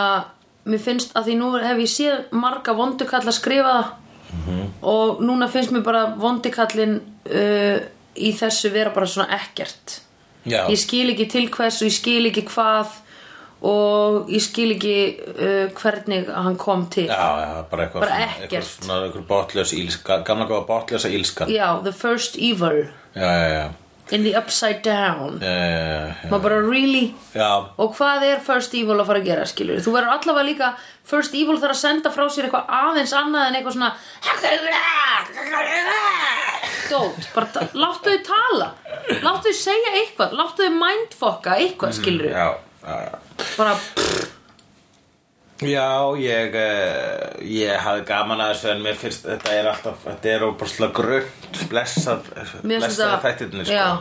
[SPEAKER 2] Mér finnst að því nú hef ég séð marga vondukalla skrifa það og núna finnst mér bara vondukallin uh, í þessu vera bara svona ekkert
[SPEAKER 3] Já,
[SPEAKER 2] Ég skil ekki til hvers og ég skil ekki hvað og ég skil ekki uh, hvernig hann kom til
[SPEAKER 3] já, já, bara eitthvað
[SPEAKER 2] Bara
[SPEAKER 3] svona-
[SPEAKER 2] ekkert.
[SPEAKER 3] Eitthvað svona, eitthvað botljós ílska, gamla góða botljósa ílskan
[SPEAKER 2] Já, the first evil
[SPEAKER 3] já, já, já,
[SPEAKER 2] in the upside down
[SPEAKER 3] já, já, já,
[SPEAKER 2] maður bara really
[SPEAKER 3] já.
[SPEAKER 2] og hvað er first evil að fara að gera skilur þú verður allavega líka first evil þarf að senda frá sér eitthvað aðeins annað en eitthvað svona dót, bara ta- láttu þau tala láttu þau segja eitthvað láttu þau mindfokka eitthvað skilur
[SPEAKER 3] Mm, já, já, já.
[SPEAKER 2] bara pff,
[SPEAKER 3] Já, ég, eh, ég hafði gaman að þessu en mér finnst þetta er alltaf, þetta er óbúrslega grönt, blessað,
[SPEAKER 2] Mér finnst
[SPEAKER 3] blessað
[SPEAKER 2] þetta-
[SPEAKER 3] þættirni sko.
[SPEAKER 2] já.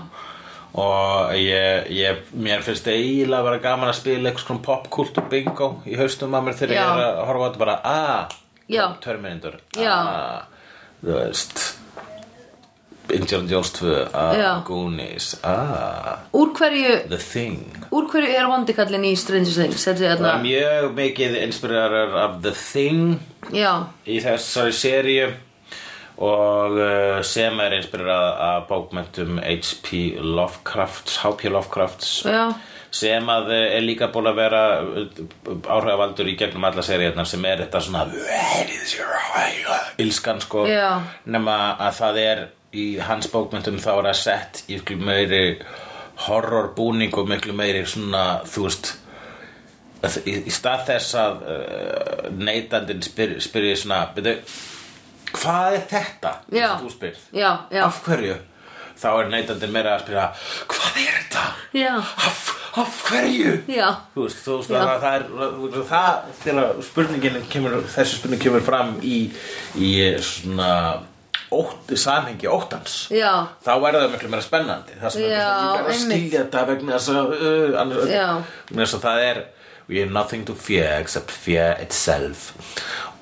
[SPEAKER 3] Og ég, ég, mér finnst eiginlega bara gaman að spila eitthvað svona popkult og bingo í haustum að mér þegar
[SPEAKER 2] Já.
[SPEAKER 3] ég er að horfa á þetta bara,
[SPEAKER 2] Já.
[SPEAKER 3] aaa, Terminator,
[SPEAKER 2] Já.
[SPEAKER 3] aaa, þú veist, Indiana Jones 2, aaa,
[SPEAKER 2] Já.
[SPEAKER 3] Goonies, aaa,
[SPEAKER 2] úr hverju
[SPEAKER 3] The Thing.
[SPEAKER 2] úr hverju er vondikallin í Stranger Things þetta er
[SPEAKER 3] Það er
[SPEAKER 2] hérna
[SPEAKER 3] mjög mikið inspirarar af The Thing
[SPEAKER 2] já,
[SPEAKER 3] í þessari seríu og uh, sem er inspirerað af bókmyndum H.P. Lovecrafts H.P. Lovecrafts
[SPEAKER 2] já,
[SPEAKER 3] sem að eh, er líka búin að vera eh, áhrifavaldur í gegnum alla seríunar sem er þetta svona "Where is your high-" ilskan sko
[SPEAKER 2] Já.
[SPEAKER 3] nema að það er í hans bókmyndum þá er það sett í miklu meiri horrorbúning og miklu meiri svona þú veist að í, í stað þess að uh, neytandinn spyr, spyrir svona byrju, hvað er þetta
[SPEAKER 2] Já.
[SPEAKER 3] sem þú spyrð
[SPEAKER 2] já, já,
[SPEAKER 3] af hverju þá er neytandinn meira að spyrja hvað er þetta
[SPEAKER 2] Já.
[SPEAKER 3] af, af hverju
[SPEAKER 2] já.
[SPEAKER 3] þú veist, þú veist
[SPEAKER 2] Já.
[SPEAKER 3] það, það er það þegar spurningin kemur þessi spurning kemur fram í, í svona ótt, samhengi óttans
[SPEAKER 2] Já.
[SPEAKER 3] þá er það miklu meira spennandi það sem er
[SPEAKER 2] Já,
[SPEAKER 3] bara svona, ég verð að
[SPEAKER 2] einmitt.
[SPEAKER 3] skilja þetta vegna þess að uh, annars,
[SPEAKER 2] Já.
[SPEAKER 3] vegna þess að það er we have nothing to fear except fear itself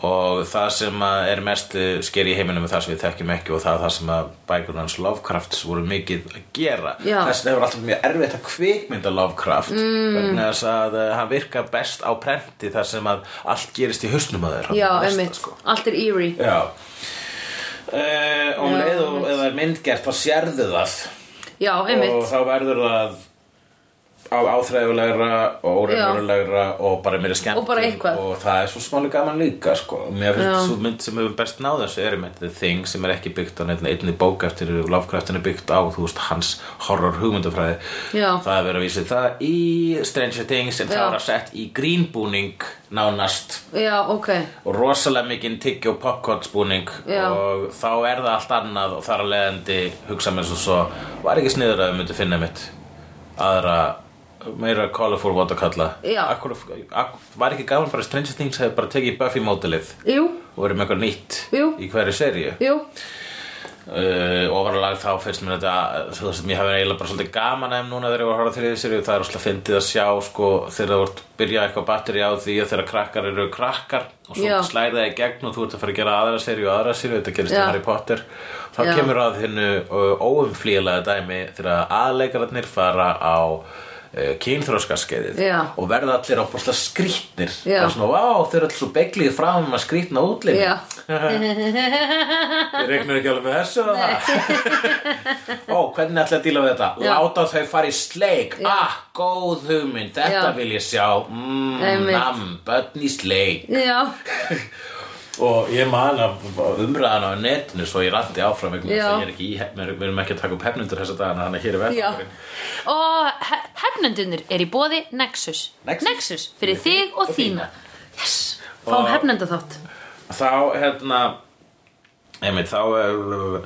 [SPEAKER 3] og það sem að er mest uh, sker í heiminum er það sem við þekkjum ekki og það er það sem að bækur hans Lovecrafts voru mikið að gera
[SPEAKER 2] Já.
[SPEAKER 3] þess að það var alltaf mjög erfitt að kvikmynda Lovecraft mm. vegna þess að uh, hann virkar best á prenti þar sem að allt gerist í hausnum að þeirra sko.
[SPEAKER 2] Já, einmitt, allt er eerie
[SPEAKER 3] Já uh, Og um
[SPEAKER 2] Já,
[SPEAKER 3] leið og
[SPEAKER 2] einmitt.
[SPEAKER 3] ef það er myndgert þá sérðu það
[SPEAKER 2] Já,
[SPEAKER 3] Og
[SPEAKER 2] einmitt,
[SPEAKER 3] þá verður það á áþræðulegra og óreifnulegra og bara meira skemmt
[SPEAKER 2] Og bara eitthvað.
[SPEAKER 3] og það er svo smáli gaman líka sko. mér finnst
[SPEAKER 2] Já.
[SPEAKER 3] svo mynd sem hefur best náð þessu er með The Thing sem er ekki byggt á neitt einni bók eftir lofkræftin er byggt á þú veist, hans horror hugmyndafræði
[SPEAKER 2] Já.
[SPEAKER 3] það er verið að vísa í það í Stranger Things en það
[SPEAKER 2] Já.
[SPEAKER 3] var að sett í grínbúning nánast
[SPEAKER 2] já, ok
[SPEAKER 3] og rosalega mikinn tyggjó popcornspúning
[SPEAKER 2] Já.
[SPEAKER 3] og þá er það allt annað og þar að leiðandi hugsa mér svo svo var ekki sniður að þau myndu finna mitt aðra meira Call for Water kalla
[SPEAKER 2] Já.
[SPEAKER 3] Akkur, ak, Var ekki gaman bara Stranger Things hefði bara tekið Buffy mótilið
[SPEAKER 2] Jú,
[SPEAKER 3] og verið með eitthvað nýtt
[SPEAKER 2] Jú.
[SPEAKER 3] í hverju seríu
[SPEAKER 2] jú
[SPEAKER 3] uh, ofarlag þá finnst mér þetta þú veist, mér hafi eiginlega bara svolítið gaman af þeim núna þegar ég var að horfa þriðið sér það er svolítið fyndið að sjá sko, þegar þú ert byrja eitthvað batteri á því að þegar krakkar eru krakkar og svo
[SPEAKER 2] Já.
[SPEAKER 3] slæri það í gegn og þú ert að fara að gera aðra séri og aðra séri þetta gerist í
[SPEAKER 2] Já.
[SPEAKER 3] Harry Potter þá
[SPEAKER 2] Já.
[SPEAKER 3] kemur að hennu óumflýjalega dæmi þegar aðleikararnir fara á uh, kynþróskaskeiðið
[SPEAKER 2] Já.
[SPEAKER 3] og verða allir á búrslega skrýtnir
[SPEAKER 2] Já.
[SPEAKER 3] og svona, vá, þau eru allir svo beglið fram um að skrýtna útlið
[SPEAKER 2] Já.
[SPEAKER 3] Ég reiknar ekki alveg með þessu að það Ó, hvernig ætla ég að díla við þetta?
[SPEAKER 2] Já.
[SPEAKER 3] Láta þau fara í sleik Ah, góð hugmynd, þetta
[SPEAKER 2] Já.
[SPEAKER 3] vil ég sjá mm,
[SPEAKER 2] Einmitt.
[SPEAKER 3] Nam, börn í sleik
[SPEAKER 2] Já,
[SPEAKER 3] Og ég man að umræðan á netinu Svo ég randi áfram vegna þess
[SPEAKER 2] Já.
[SPEAKER 3] að ég er ekki í hef- Við erum ekki að taka upp hefnundur þessa dagana Þannig að hér er
[SPEAKER 2] já
[SPEAKER 3] verðarinn
[SPEAKER 2] Og he hefnendunir er í bóði Nexus
[SPEAKER 3] Nexus.
[SPEAKER 2] fyrir þig og þína Yes, fáum
[SPEAKER 3] Og-
[SPEAKER 2] hefnenda þátt
[SPEAKER 3] þá hérna einmitt þá eh,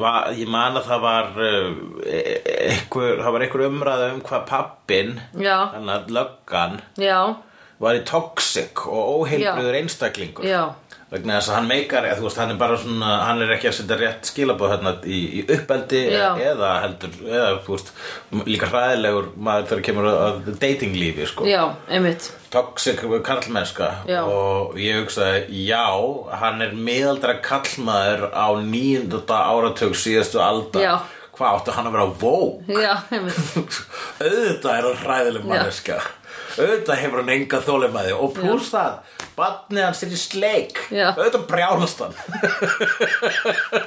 [SPEAKER 3] va, ég man að það var eh, einhver, það var einhver umræða um hvað pappin
[SPEAKER 2] Já.
[SPEAKER 3] þannig að löggan
[SPEAKER 2] Já,
[SPEAKER 3] var í toxic og óheilbriður einstaklingur
[SPEAKER 2] já,
[SPEAKER 3] vegna þess að hann meikar eða, þú veist, hann er bara svona, hann er ekki að setja rétt skilabóð hérna í, í uppeldi e-
[SPEAKER 2] Já.
[SPEAKER 3] eða heldur, eða þú veist líka hræðilegur maður þegar kemur að- að datinglífi sko
[SPEAKER 2] já, einmitt
[SPEAKER 3] toxic kallmennska
[SPEAKER 2] Já.
[SPEAKER 3] og ég hugsaði já, hann er miðaldra kallmaður á nýjönda áratug síðastu aldar
[SPEAKER 2] Já.
[SPEAKER 3] hvað áttu hann að vera vó
[SPEAKER 2] Já, einmitt
[SPEAKER 3] auðvitað er hann hræðileg manneska auðvitað hefur hann enga þólimaði og pluss það, barnið hans er í sleik
[SPEAKER 2] Já.
[SPEAKER 3] auðvitað brjálast hann og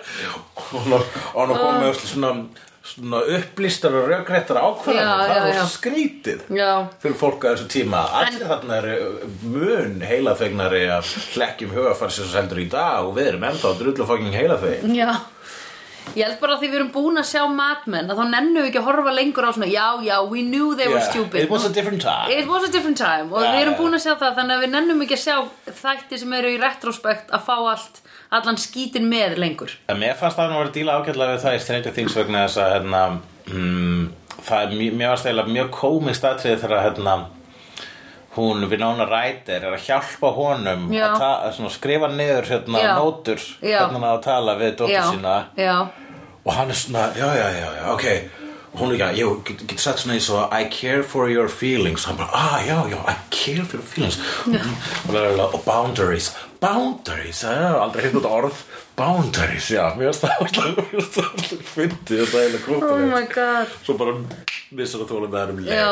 [SPEAKER 3] hann- og hann kom
[SPEAKER 2] Ah.
[SPEAKER 3] með svona, svona upplýstar og rökréttar ákvæðan
[SPEAKER 2] Já,
[SPEAKER 3] það
[SPEAKER 2] já,
[SPEAKER 3] var
[SPEAKER 2] já.
[SPEAKER 3] svo skrítið
[SPEAKER 2] Já,
[SPEAKER 3] fyrir fólk á þessu tíma allir þarna eru uh, mun heilaþegnari að hlekkjum hugafar sem sendur í dag og við erum ennþá drullufokking heilaþeg
[SPEAKER 2] já Ég held bara að því við erum búin að sjá matmenn að þá nennum við ekki að horfa lengur á svona Já, já, we knew they were stupid
[SPEAKER 3] It was a different time
[SPEAKER 2] It was a different time og
[SPEAKER 3] Já,
[SPEAKER 2] við erum
[SPEAKER 3] já,
[SPEAKER 2] búin að sjá það þannig að við nennum ekki að sjá þætti sem eru í retrospekt að fá allt, allan skítin með lengur
[SPEAKER 3] En mér fannst það nú að vera að díla ágætlega við það í Stranger Things vegna þess að hérna, mm, það er mjög, mér varst eiginlega mjög komist aðtrið þegar að hérna, hún Vinona Ryder er að hjálpa honum
[SPEAKER 2] Já.
[SPEAKER 3] að ta- svona, skrifa niður hérna,
[SPEAKER 2] Já.
[SPEAKER 3] nótur
[SPEAKER 2] Já.
[SPEAKER 3] hvernig hann á að tala við dóttur
[SPEAKER 2] Já,
[SPEAKER 3] sína
[SPEAKER 2] já,
[SPEAKER 3] og hann er svona, já, já, já, já, ok hún líka, jú, get, get satt svona eins og I care for your feelings hann bara, ah, já, já, I care for your feelings og, la, la, la, og "Oh, boundaries boundaries, já, aldrei hefði þetta orð boundaries, já, mér finnst það alltaf, mér finnst það alltaf fyndið þetta er
[SPEAKER 2] oh
[SPEAKER 3] krótalegt,
[SPEAKER 2] my god
[SPEAKER 3] svo bara missar að þóla með það um leið
[SPEAKER 2] Já,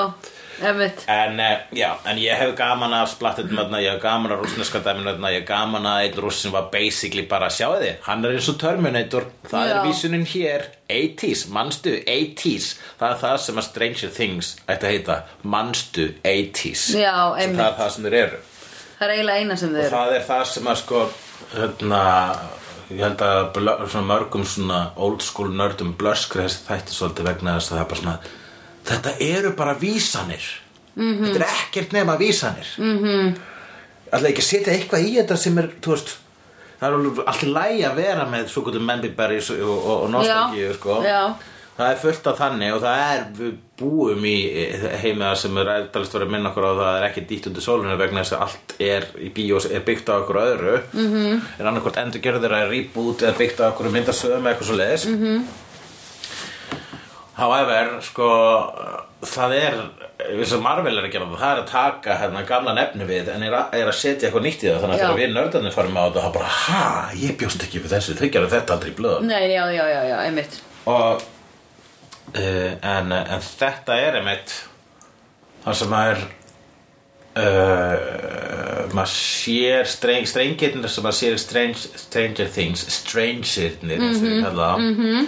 [SPEAKER 2] emitt
[SPEAKER 3] En, eh, já, en ég hef gaman að splattetnum þarna, ég hef gaman að rúsneska dæminu þarna, ég hef gaman að einn rúss sem var basically bara, sjáu þið, hann er eins og Terminator, það
[SPEAKER 2] Já.
[SPEAKER 3] er vísunin hér, 80s, manstu, 80s, það er það sem að Stranger Things ætti að heita, manstu, 80s,
[SPEAKER 2] Já,
[SPEAKER 3] Sem
[SPEAKER 2] einmitt.
[SPEAKER 3] það er það sem þeir eru.
[SPEAKER 2] Það er eiginlega eina sem við erum
[SPEAKER 3] Það er það sem að sko, hérna, ég held að blö- svona mörgum svona old school nördum blöskri þessi þætti svolítið vegna þess að það er bara svona, þetta eru bara vísanir. -hmm. Þetta er ekkert nema vísanir. Mm -hmm. Alltaf ekki að setja eitthvað í þetta sem er, þú veist, það er alveg alltaf lægi að vera með svo kvöldum membiberries og, og, og nostalgíu,
[SPEAKER 2] Já,
[SPEAKER 3] sko.
[SPEAKER 2] já.
[SPEAKER 3] Það er fullt af þannig og það er, við búum í heimiða sem er eldalist verið að minna okkur á það er ekki dýtt undir sólinu vegna þess að allt er í bíós er byggt á okkur öðru mm
[SPEAKER 2] Mhm.
[SPEAKER 3] -hmm. en annarkvort endur gerður þeirra er reboot eða byggt á okkur myndasöðum eða eitthvað svo leiðis
[SPEAKER 2] Mhm.
[SPEAKER 3] mm -hmm. However, sko það er, við sem Marvel er að gera það það er að taka hérna gamla nefni við en er að, er að setja eitthvað nýtt í það þannig að
[SPEAKER 2] Já.
[SPEAKER 3] þegar við nördarnir farum á þetta það bara, ha, ég bjóst ekki við þessu þau gerðu þetta aldrei í blöðum
[SPEAKER 2] Nei, já, já, já, já, emitt
[SPEAKER 3] og uh, en, en þetta er einmitt það sem maður uh, maður sér streng, strengirnir sem maður sér í strange, Stranger Things strangirnir mm
[SPEAKER 2] Mhm,
[SPEAKER 3] -hmm. mm -hmm.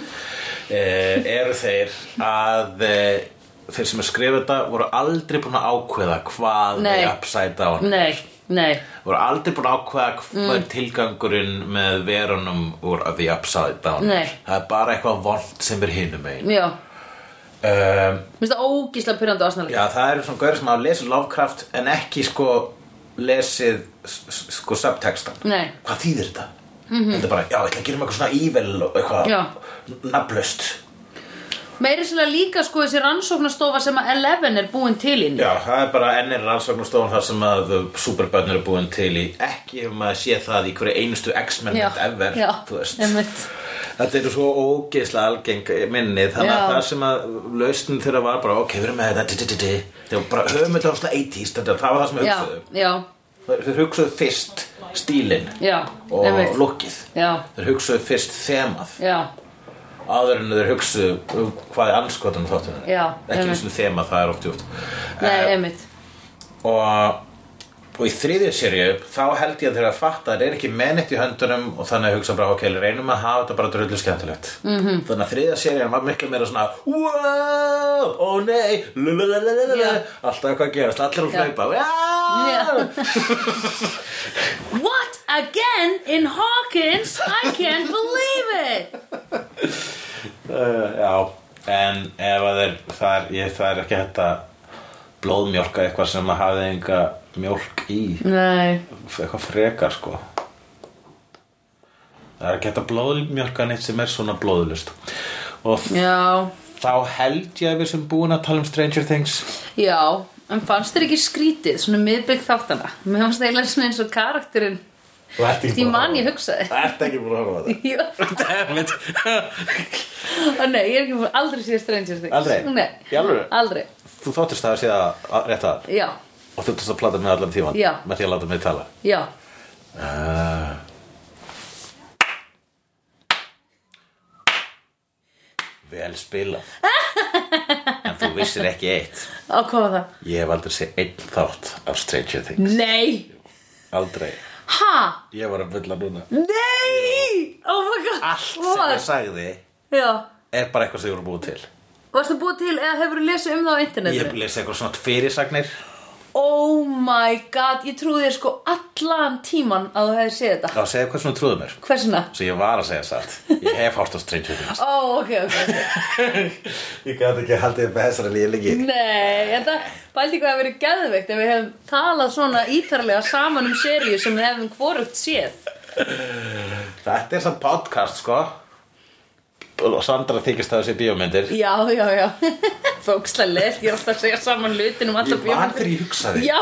[SPEAKER 3] eh, eru þeir að uh, þeir sem er skrifað þetta voru aldrei búin að ákveða hvað
[SPEAKER 2] Nei. Mm.
[SPEAKER 3] er upside down
[SPEAKER 2] Nei, nei,
[SPEAKER 3] voru aldrei búin að ákveða hvað
[SPEAKER 2] Mm.
[SPEAKER 3] er tilgangurinn með verunum úr The Upside Down
[SPEAKER 2] Nei.
[SPEAKER 3] það er bara eitthvað vond sem er hinum megin
[SPEAKER 2] já Mér
[SPEAKER 3] um,
[SPEAKER 2] finnst það ógíslega pyrrandi ásnalega
[SPEAKER 3] já, það eru svona gaur sem hafa lesið Lovecraft en ekki sko lesið s- s- sko subtextan
[SPEAKER 2] Nei. Mhm.
[SPEAKER 3] hvað þýðir þetta? um Mm Þetta er bara, já, ég ætla að gera mig eitthvað svona evil og
[SPEAKER 2] Já.
[SPEAKER 3] eitthvað nafnlaust
[SPEAKER 2] meiri sérlega líka sko þessi rannsóknastofa sem að Eleven er búin til inn í
[SPEAKER 3] Já, það er bara ennir rannsóknarstofan þar sem að superbönnur er búin til í ekki ef maður sé það í hverju einustu X-Men mynd ever,
[SPEAKER 2] já,
[SPEAKER 3] þú veist
[SPEAKER 2] einmitt.
[SPEAKER 3] Þetta eru svo ógeðslega algeng minni þannig að
[SPEAKER 2] Já.
[SPEAKER 3] það sem að lausnin þeirra var bara ok, við erum með þetta di, di, di. Þeir voru bara höfum þetta á svona 80s þetta, það var það sem um.
[SPEAKER 2] já,
[SPEAKER 3] hugsaðu
[SPEAKER 2] já,
[SPEAKER 3] Þeir hugsaðu fyrst stílinn
[SPEAKER 2] já
[SPEAKER 3] og
[SPEAKER 2] einmitt.
[SPEAKER 3] lukkið
[SPEAKER 2] já,
[SPEAKER 3] Þeir hugsaðu fyrst þemað
[SPEAKER 2] já,
[SPEAKER 3] áður en þeir hugsaðu um hvað er anskotan þáttunum
[SPEAKER 2] Já,
[SPEAKER 3] ekki
[SPEAKER 2] einmitt.
[SPEAKER 3] eins og þemað, það er oft júft
[SPEAKER 2] nei,
[SPEAKER 3] Eh,
[SPEAKER 2] einmitt
[SPEAKER 3] og, og í þriðju seríu þá held ég að þeir að fatta að þeir eru ekki mennitt í höndunum og þannig að hugsa bara ok, reynum að hafa þetta bara drullu skemmtilegt
[SPEAKER 2] Mhm.
[SPEAKER 3] -hmm. þannig að þriðja serían var miklu meira svona wow, ó nei lulululululul,
[SPEAKER 2] Já.
[SPEAKER 3] alltaf eitthvað að gerast allir að
[SPEAKER 2] Já.
[SPEAKER 3] hlaupa yeah.
[SPEAKER 2] What again in Hawkins? I can't believe it
[SPEAKER 3] uh, já, en ef að þeir það er, ég, það er ekki hægt að blóðmjólka eitthvað sem að hafi enga mjólk í
[SPEAKER 2] Nei,
[SPEAKER 3] eitthvað frekar sko það er ekki hægt að blóðmjörka neitt sem er svona blóðlust og
[SPEAKER 2] já,
[SPEAKER 3] þá held ég að við sem búin að tala um Stranger Things
[SPEAKER 2] já En fannst þér ekki skrítið, svona miðbygg þáttana Mér fannst eiginlega svona eins og karakterinn
[SPEAKER 3] Þú ert ekki
[SPEAKER 2] Því
[SPEAKER 3] búin að
[SPEAKER 2] mann ég
[SPEAKER 3] horfa á
[SPEAKER 2] hugsaði
[SPEAKER 3] það ert ekki búin að horfa á
[SPEAKER 2] Já,
[SPEAKER 3] það
[SPEAKER 2] Ó, nei, ég er ekki búin aldrei séð Stranger Things
[SPEAKER 3] Aldrei?
[SPEAKER 2] Nei,
[SPEAKER 3] Í alvöru?
[SPEAKER 2] aldrei
[SPEAKER 3] þú þóttist það að sé það rétt að
[SPEAKER 2] Já,
[SPEAKER 3] og þú þóttist að plata með allan tíman
[SPEAKER 2] Já.
[SPEAKER 3] með því að láta mig tala
[SPEAKER 2] já,
[SPEAKER 3] uh, vel spilað en þú vissir ekki eitt
[SPEAKER 2] á hvað var það?
[SPEAKER 3] Ég hef aldrei séð einn þátt af Stranger Things
[SPEAKER 2] Nei,
[SPEAKER 3] Aldrei
[SPEAKER 2] ha,
[SPEAKER 3] Ég var að fulla núna
[SPEAKER 2] nei, oh my god
[SPEAKER 3] Allt sem
[SPEAKER 2] What?
[SPEAKER 3] ég sagði
[SPEAKER 2] Já,
[SPEAKER 3] er bara eitthvað sem ég voru búið til
[SPEAKER 2] varstu búið til eða hefurðu lesið um það á internetinu?
[SPEAKER 3] Ég lesi eitthvað svona fyrirsagnir
[SPEAKER 2] Oh my god, ég trúi þér sko allan tíman að þú hefði séð þetta
[SPEAKER 3] Það segja eitthvað svona trúðu mér
[SPEAKER 2] Hversina?
[SPEAKER 3] Svo ég var að segja satt Ég hef hort á Stranger Things
[SPEAKER 2] Ó, Oh, ok, ok, ok
[SPEAKER 3] Ég gæti ekki að halda þér með þessari lílingi
[SPEAKER 2] Nei, en það bælti hvað að verið geðveikt ef við hefum talað svona ítarlega saman um seríu sem við hefum hvorugt séð
[SPEAKER 3] Þetta er samt podcast sko Og Sandra þykist það þessi bíómyndir
[SPEAKER 2] Já, já, já Fókslega leitt, ég er alltaf að segja saman lutin um alltaf
[SPEAKER 3] Ég var þegar ég hugsaði
[SPEAKER 2] Já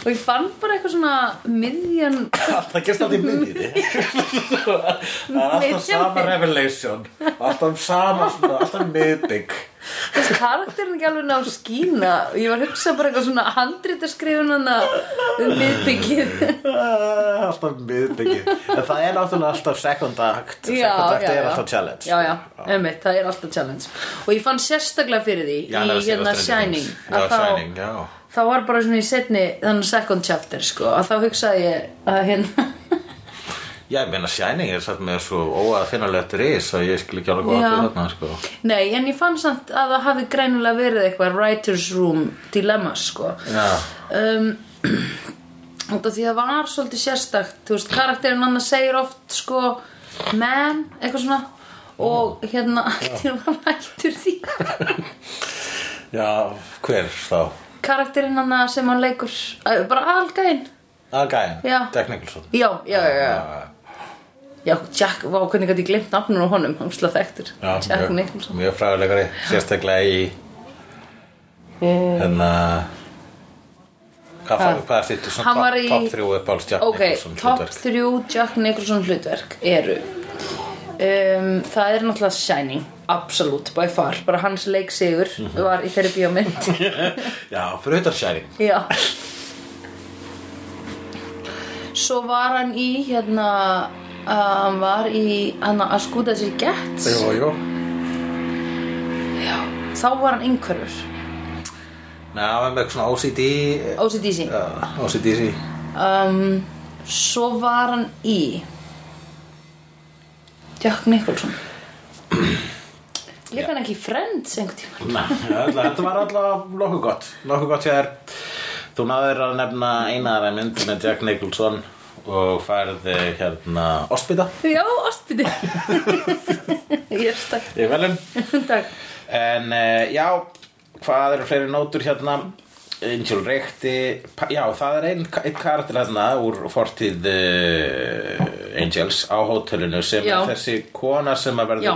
[SPEAKER 2] Og ég fann bara eitthvað svona miðjan
[SPEAKER 3] Það gerst alltaf í miðjunni Það er alltaf sama revelation Alltaf sama svona, alltaf miðbygg
[SPEAKER 2] Þess karakterin ekki alveg ná skína Ég var að hugsa bara eitthvað svona handritaskrifun hana um miðbyggið
[SPEAKER 3] Ah, alltaf miðbyggið en það er náttúrulega alltaf second act second act er alltaf challenge
[SPEAKER 2] Já, já, einmitt, það er alltaf challenge Og ég fann sérstaklega fyrir því
[SPEAKER 3] Já,
[SPEAKER 2] í
[SPEAKER 3] það er að segja
[SPEAKER 2] hérna
[SPEAKER 3] Stranger
[SPEAKER 2] Shining
[SPEAKER 3] Things.
[SPEAKER 2] að
[SPEAKER 3] já,
[SPEAKER 2] þá,
[SPEAKER 3] Shining, já
[SPEAKER 2] þá var bara svona í setni þannig second chapter, sko að þá hugsaði ég að hérna
[SPEAKER 3] Já, ég meina Shining er satt með svo óaðfinnalegt ris að ég skil ekki alveg hvað
[SPEAKER 2] Já.
[SPEAKER 3] að þarna sko.
[SPEAKER 2] Nei, en ég fann samt að það hafi greinilega verið eitthvað writer's room dilemma, sko
[SPEAKER 3] Já,
[SPEAKER 2] um, út af því það var svolítið sérstakt þú veist, karakterinn annars segir oft sko, man, eitthvað svona og hérna, aktir var mættur því
[SPEAKER 3] já, hver þá?
[SPEAKER 2] karakterinn annars sem hann leikur eh, bara algæinn
[SPEAKER 3] Ah, gæðin,
[SPEAKER 2] Já.
[SPEAKER 3] Jack Nicholson
[SPEAKER 2] já, já, já, já,
[SPEAKER 3] Já,
[SPEAKER 2] já, Jack, vá, hvernig gæti ég glemt nafnum á honum, hann slá þekktur
[SPEAKER 3] já,
[SPEAKER 2] Jack
[SPEAKER 3] mjög-
[SPEAKER 2] Nicholson
[SPEAKER 3] Mjög fræðulegari, sérstaklega í hérna
[SPEAKER 2] Eh.
[SPEAKER 3] Hvað,
[SPEAKER 2] Hvað?
[SPEAKER 3] hvað er þitt svona
[SPEAKER 2] Hann var
[SPEAKER 3] top,
[SPEAKER 2] í-
[SPEAKER 3] top 3 uppáls Jack
[SPEAKER 2] ok,
[SPEAKER 3] Nicholson
[SPEAKER 2] top
[SPEAKER 3] hlutverk?
[SPEAKER 2] 3 Jack Nicholson hlutverk eru um, það er náttúrulega Shining absolutt, by far, bara hans leiksigur var í þeirri bíómynd
[SPEAKER 3] Já, fyrir utan Shining
[SPEAKER 2] Já Svo var hann í hérna uh, hann var í hann að skúta sér gett
[SPEAKER 3] Jú, jú
[SPEAKER 2] Já, þá var hann einhverfur
[SPEAKER 3] Nei, hann var með eitthvað svona OCD
[SPEAKER 2] OCDC
[SPEAKER 3] uh, OCDC
[SPEAKER 2] um, Svo var hann í Jack Nicholson Líka hann ekki í Friends einhvern tímann
[SPEAKER 3] Nei, ætla- Þetta var alltaf nokkuð gott Nokkuð gott hjá þér Þú náður að nefna einaðara mynd með Jack Nicholson og færði hérna Ospita
[SPEAKER 2] Já, ástbytti Ég er stakk
[SPEAKER 3] Ég velum
[SPEAKER 2] Takk
[SPEAKER 3] En uh, já, hvað eru fleiri nótur hérna Angel Reykti pa- Já, það er einn ein karakter hérna úr fortíð uh, Angels á hótelinu sem
[SPEAKER 2] Já.
[SPEAKER 3] er þessi kona sem að verður
[SPEAKER 2] Já.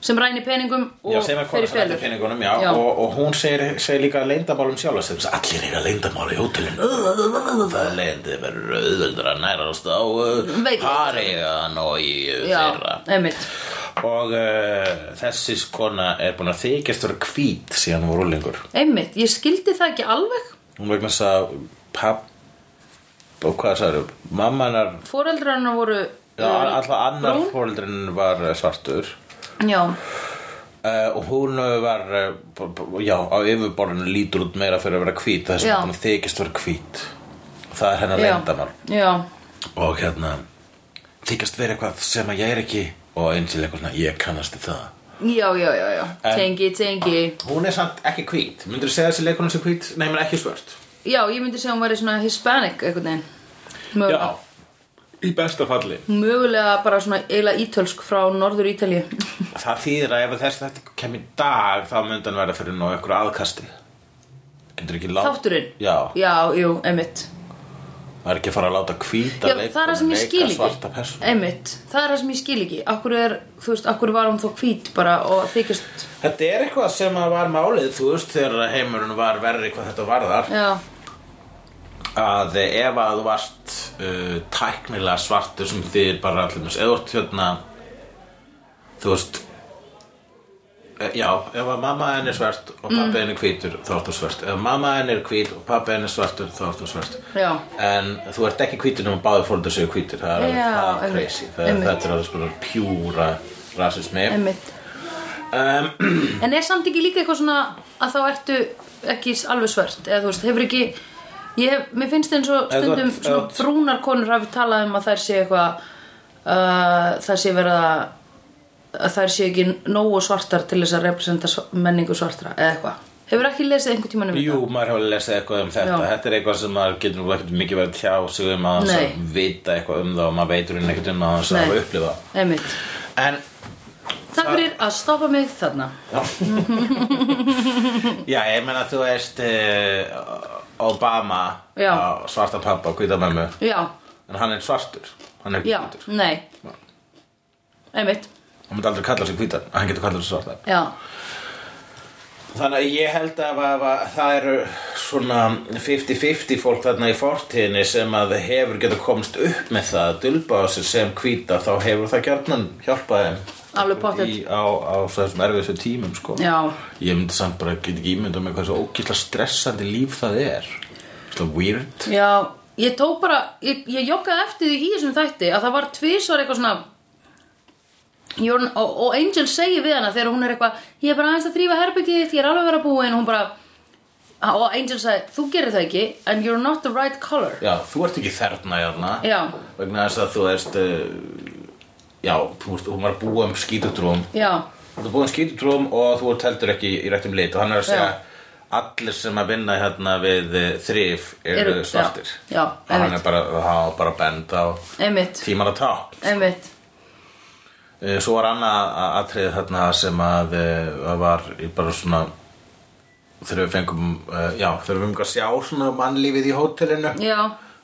[SPEAKER 2] sem ræni peningum og
[SPEAKER 3] já, sem er
[SPEAKER 2] fer í
[SPEAKER 3] hvað sem
[SPEAKER 2] felur.
[SPEAKER 3] þetta peningunum, já,
[SPEAKER 2] Já.
[SPEAKER 3] Og, og hún segir, segir líka leyndamálum sjálf þess að allir eiga leyndamála í hótelinu það leyndi verður auðvöldur að nærast á
[SPEAKER 2] Veikleika.
[SPEAKER 3] pariðan og í uh, þeirra
[SPEAKER 2] Já, einmitt
[SPEAKER 3] og uh, þessi skona er búin að þykjast vera hvít síðan hún var úrlingur
[SPEAKER 2] Einmitt, ég skildi það ekki alveg
[SPEAKER 3] hún vegna þess að papp og hvað sagður, mamma hennar
[SPEAKER 2] Foreldrar hennar voru
[SPEAKER 3] já, alltaf annar
[SPEAKER 2] Mm. Brún?
[SPEAKER 3] fóreldrin var eh, svartur
[SPEAKER 2] Já,
[SPEAKER 3] Uh, og hún eh, var eh, b- b- já, á yfirborðinu lítur út meira fyrir að vera hvít þess
[SPEAKER 2] Já.
[SPEAKER 3] að hún þykist vera hvít það er hennar
[SPEAKER 2] já,
[SPEAKER 3] leyndamál
[SPEAKER 2] já
[SPEAKER 3] og hérna þykist vera eitthvað sem að ég er ekki og eins og eitthvað svona, ég kannast við það
[SPEAKER 2] Já, já, já, já,
[SPEAKER 3] En-
[SPEAKER 2] tengi, tengi
[SPEAKER 3] hún er samt ekki hvít, myndur þú segja þessi leikunum sem hvít nei, menn ekki svört
[SPEAKER 2] Já, ég myndi segja hún væri svona hispanic einhvern veginn Mögulega,
[SPEAKER 3] í besta falli
[SPEAKER 2] mögulega bara svona eiginlega ítölsk frá norður Ítalíu
[SPEAKER 3] það þýðir að ef þessi þetta kemur í dag þá myndan verða fyrir nóg ykkur aðkasti getur ekki láta
[SPEAKER 2] Þátturinn
[SPEAKER 3] já,
[SPEAKER 2] Já, jú, einmitt
[SPEAKER 3] maður er ekki að fara að láta hvíta
[SPEAKER 2] Já, það er það sem ég skil
[SPEAKER 3] svarta
[SPEAKER 2] ekki
[SPEAKER 3] persónu
[SPEAKER 2] Einmitt, það er það sem ég skil ekki Akkur er, þú veist, akkur var hún þó hvít bara og þykist
[SPEAKER 3] Þetta er eitthvað sem að var málið, þú veist, þegar heimurinn var verri hvað þetta varðar
[SPEAKER 2] Já,
[SPEAKER 3] að ef að þú varst uh, tæknilega svartur sem þýðir bara allir mjög, eða þú ert hérna þú veist eh, Já, ef að mamma henn er svört og pappi
[SPEAKER 2] Mm.
[SPEAKER 3] henn er hvítur, þá ert þú svört Ef mamma henn er hvít og pappi henn er svartur, þá ert þú svört
[SPEAKER 2] já,
[SPEAKER 3] En þú ert ekki hvítur nema báði fóldur séu hvítur Það er alveg-
[SPEAKER 2] Já,
[SPEAKER 3] það er
[SPEAKER 2] einmitt,
[SPEAKER 3] crazy Það er
[SPEAKER 2] einmitt.
[SPEAKER 3] þetta er alveg spilur pjúra rasismi
[SPEAKER 2] einmitt
[SPEAKER 3] um,
[SPEAKER 2] En er samt ekki líka eitthvað svona að þá ertu ekki alveg svört eða þú veist, hefur ekki ég hef, mér finnst eins og
[SPEAKER 3] Eða þú
[SPEAKER 2] stundum
[SPEAKER 3] ert-
[SPEAKER 2] svona
[SPEAKER 3] eða þú-
[SPEAKER 2] brúnar konur hafi talað um að þær sé eitthvað uh, þær sé verið að að þær sé ekki nógu svartar til þess að representa sv- menningu svartra eða eitthvað. Hefur ekki lesið einhvern tímann um
[SPEAKER 3] Jú, maður hefur lesið eitthvað um þetta
[SPEAKER 2] Já.
[SPEAKER 3] Þetta er eitthvað sem maður getur nú ekkert mikið verið að tjá sig um að
[SPEAKER 2] Nei.
[SPEAKER 3] að vita eitthvað um það og maður veitur inn ekkert um að þess að
[SPEAKER 2] Nei.
[SPEAKER 3] hafa upplifa
[SPEAKER 2] þetta? Einmitt.
[SPEAKER 3] En,
[SPEAKER 2] Takk fyrir að stoppa mig þarna.
[SPEAKER 3] já, ég meina þú veist eh, Obama
[SPEAKER 2] Já.
[SPEAKER 3] á svarta pappa og hvita mömmu
[SPEAKER 2] Já,
[SPEAKER 3] en hann er svartur, hann er ekki
[SPEAKER 2] já,
[SPEAKER 3] hvítur
[SPEAKER 2] nei. Einmitt,
[SPEAKER 3] Hann myndi aldrei kalla sig hvítan, hann getur kallað sig svartan
[SPEAKER 2] já,
[SPEAKER 3] Þannig að ég held að, að, að það eru svona 50-50 fólk þarna í fortíðinni sem að hefur getur komst upp með það að dulba á sig sem hvíta þá hefur það gjarnan hjálpað þeim
[SPEAKER 2] Alveg pottþétt.
[SPEAKER 3] Í- á, á þessum erfiðsum tímum sko.
[SPEAKER 2] Já.
[SPEAKER 3] Ég myndi samt bara get ekki ímynda með hvað svo ókýrsla stressandi líf það er Svo weird
[SPEAKER 2] já. Ég tók bara, ég, ég joggaði eftir því í þessum þætti að það var tvisvar eitthvað svona Jörn, og, og Angel segir við hana þegar hún er eitthvað ég er bara aðeins að þrýfa herbyggið þitt, ég er alveg að vera búin og hún bara og Angel sagði, þú gerir það ekki and you're not the right color
[SPEAKER 3] Já, þú ert ekki þarna hérna
[SPEAKER 2] Já.
[SPEAKER 3] Vegna þess að þú ert uh, Já, þú ert, hún var að búa um skítutrúum
[SPEAKER 2] já,
[SPEAKER 3] Þú ert búinn skítutrúm og þú ert heldur ekki í réttum lit og hann er að segja allir sem að vinna hérna við eh, þrif eru
[SPEAKER 2] Eru-
[SPEAKER 3] svartir
[SPEAKER 2] já, já,
[SPEAKER 3] og hann
[SPEAKER 2] einmitt.
[SPEAKER 3] er bara, hann er bara bend á
[SPEAKER 2] einmitt
[SPEAKER 3] tíman að tá
[SPEAKER 2] einmitt,
[SPEAKER 3] svo var annað a- atriði þarna sem að eh, var í bara svona þegar við fengum eh, já, þegar við fengum að sjá svona mannlífið í hótelinu
[SPEAKER 2] já,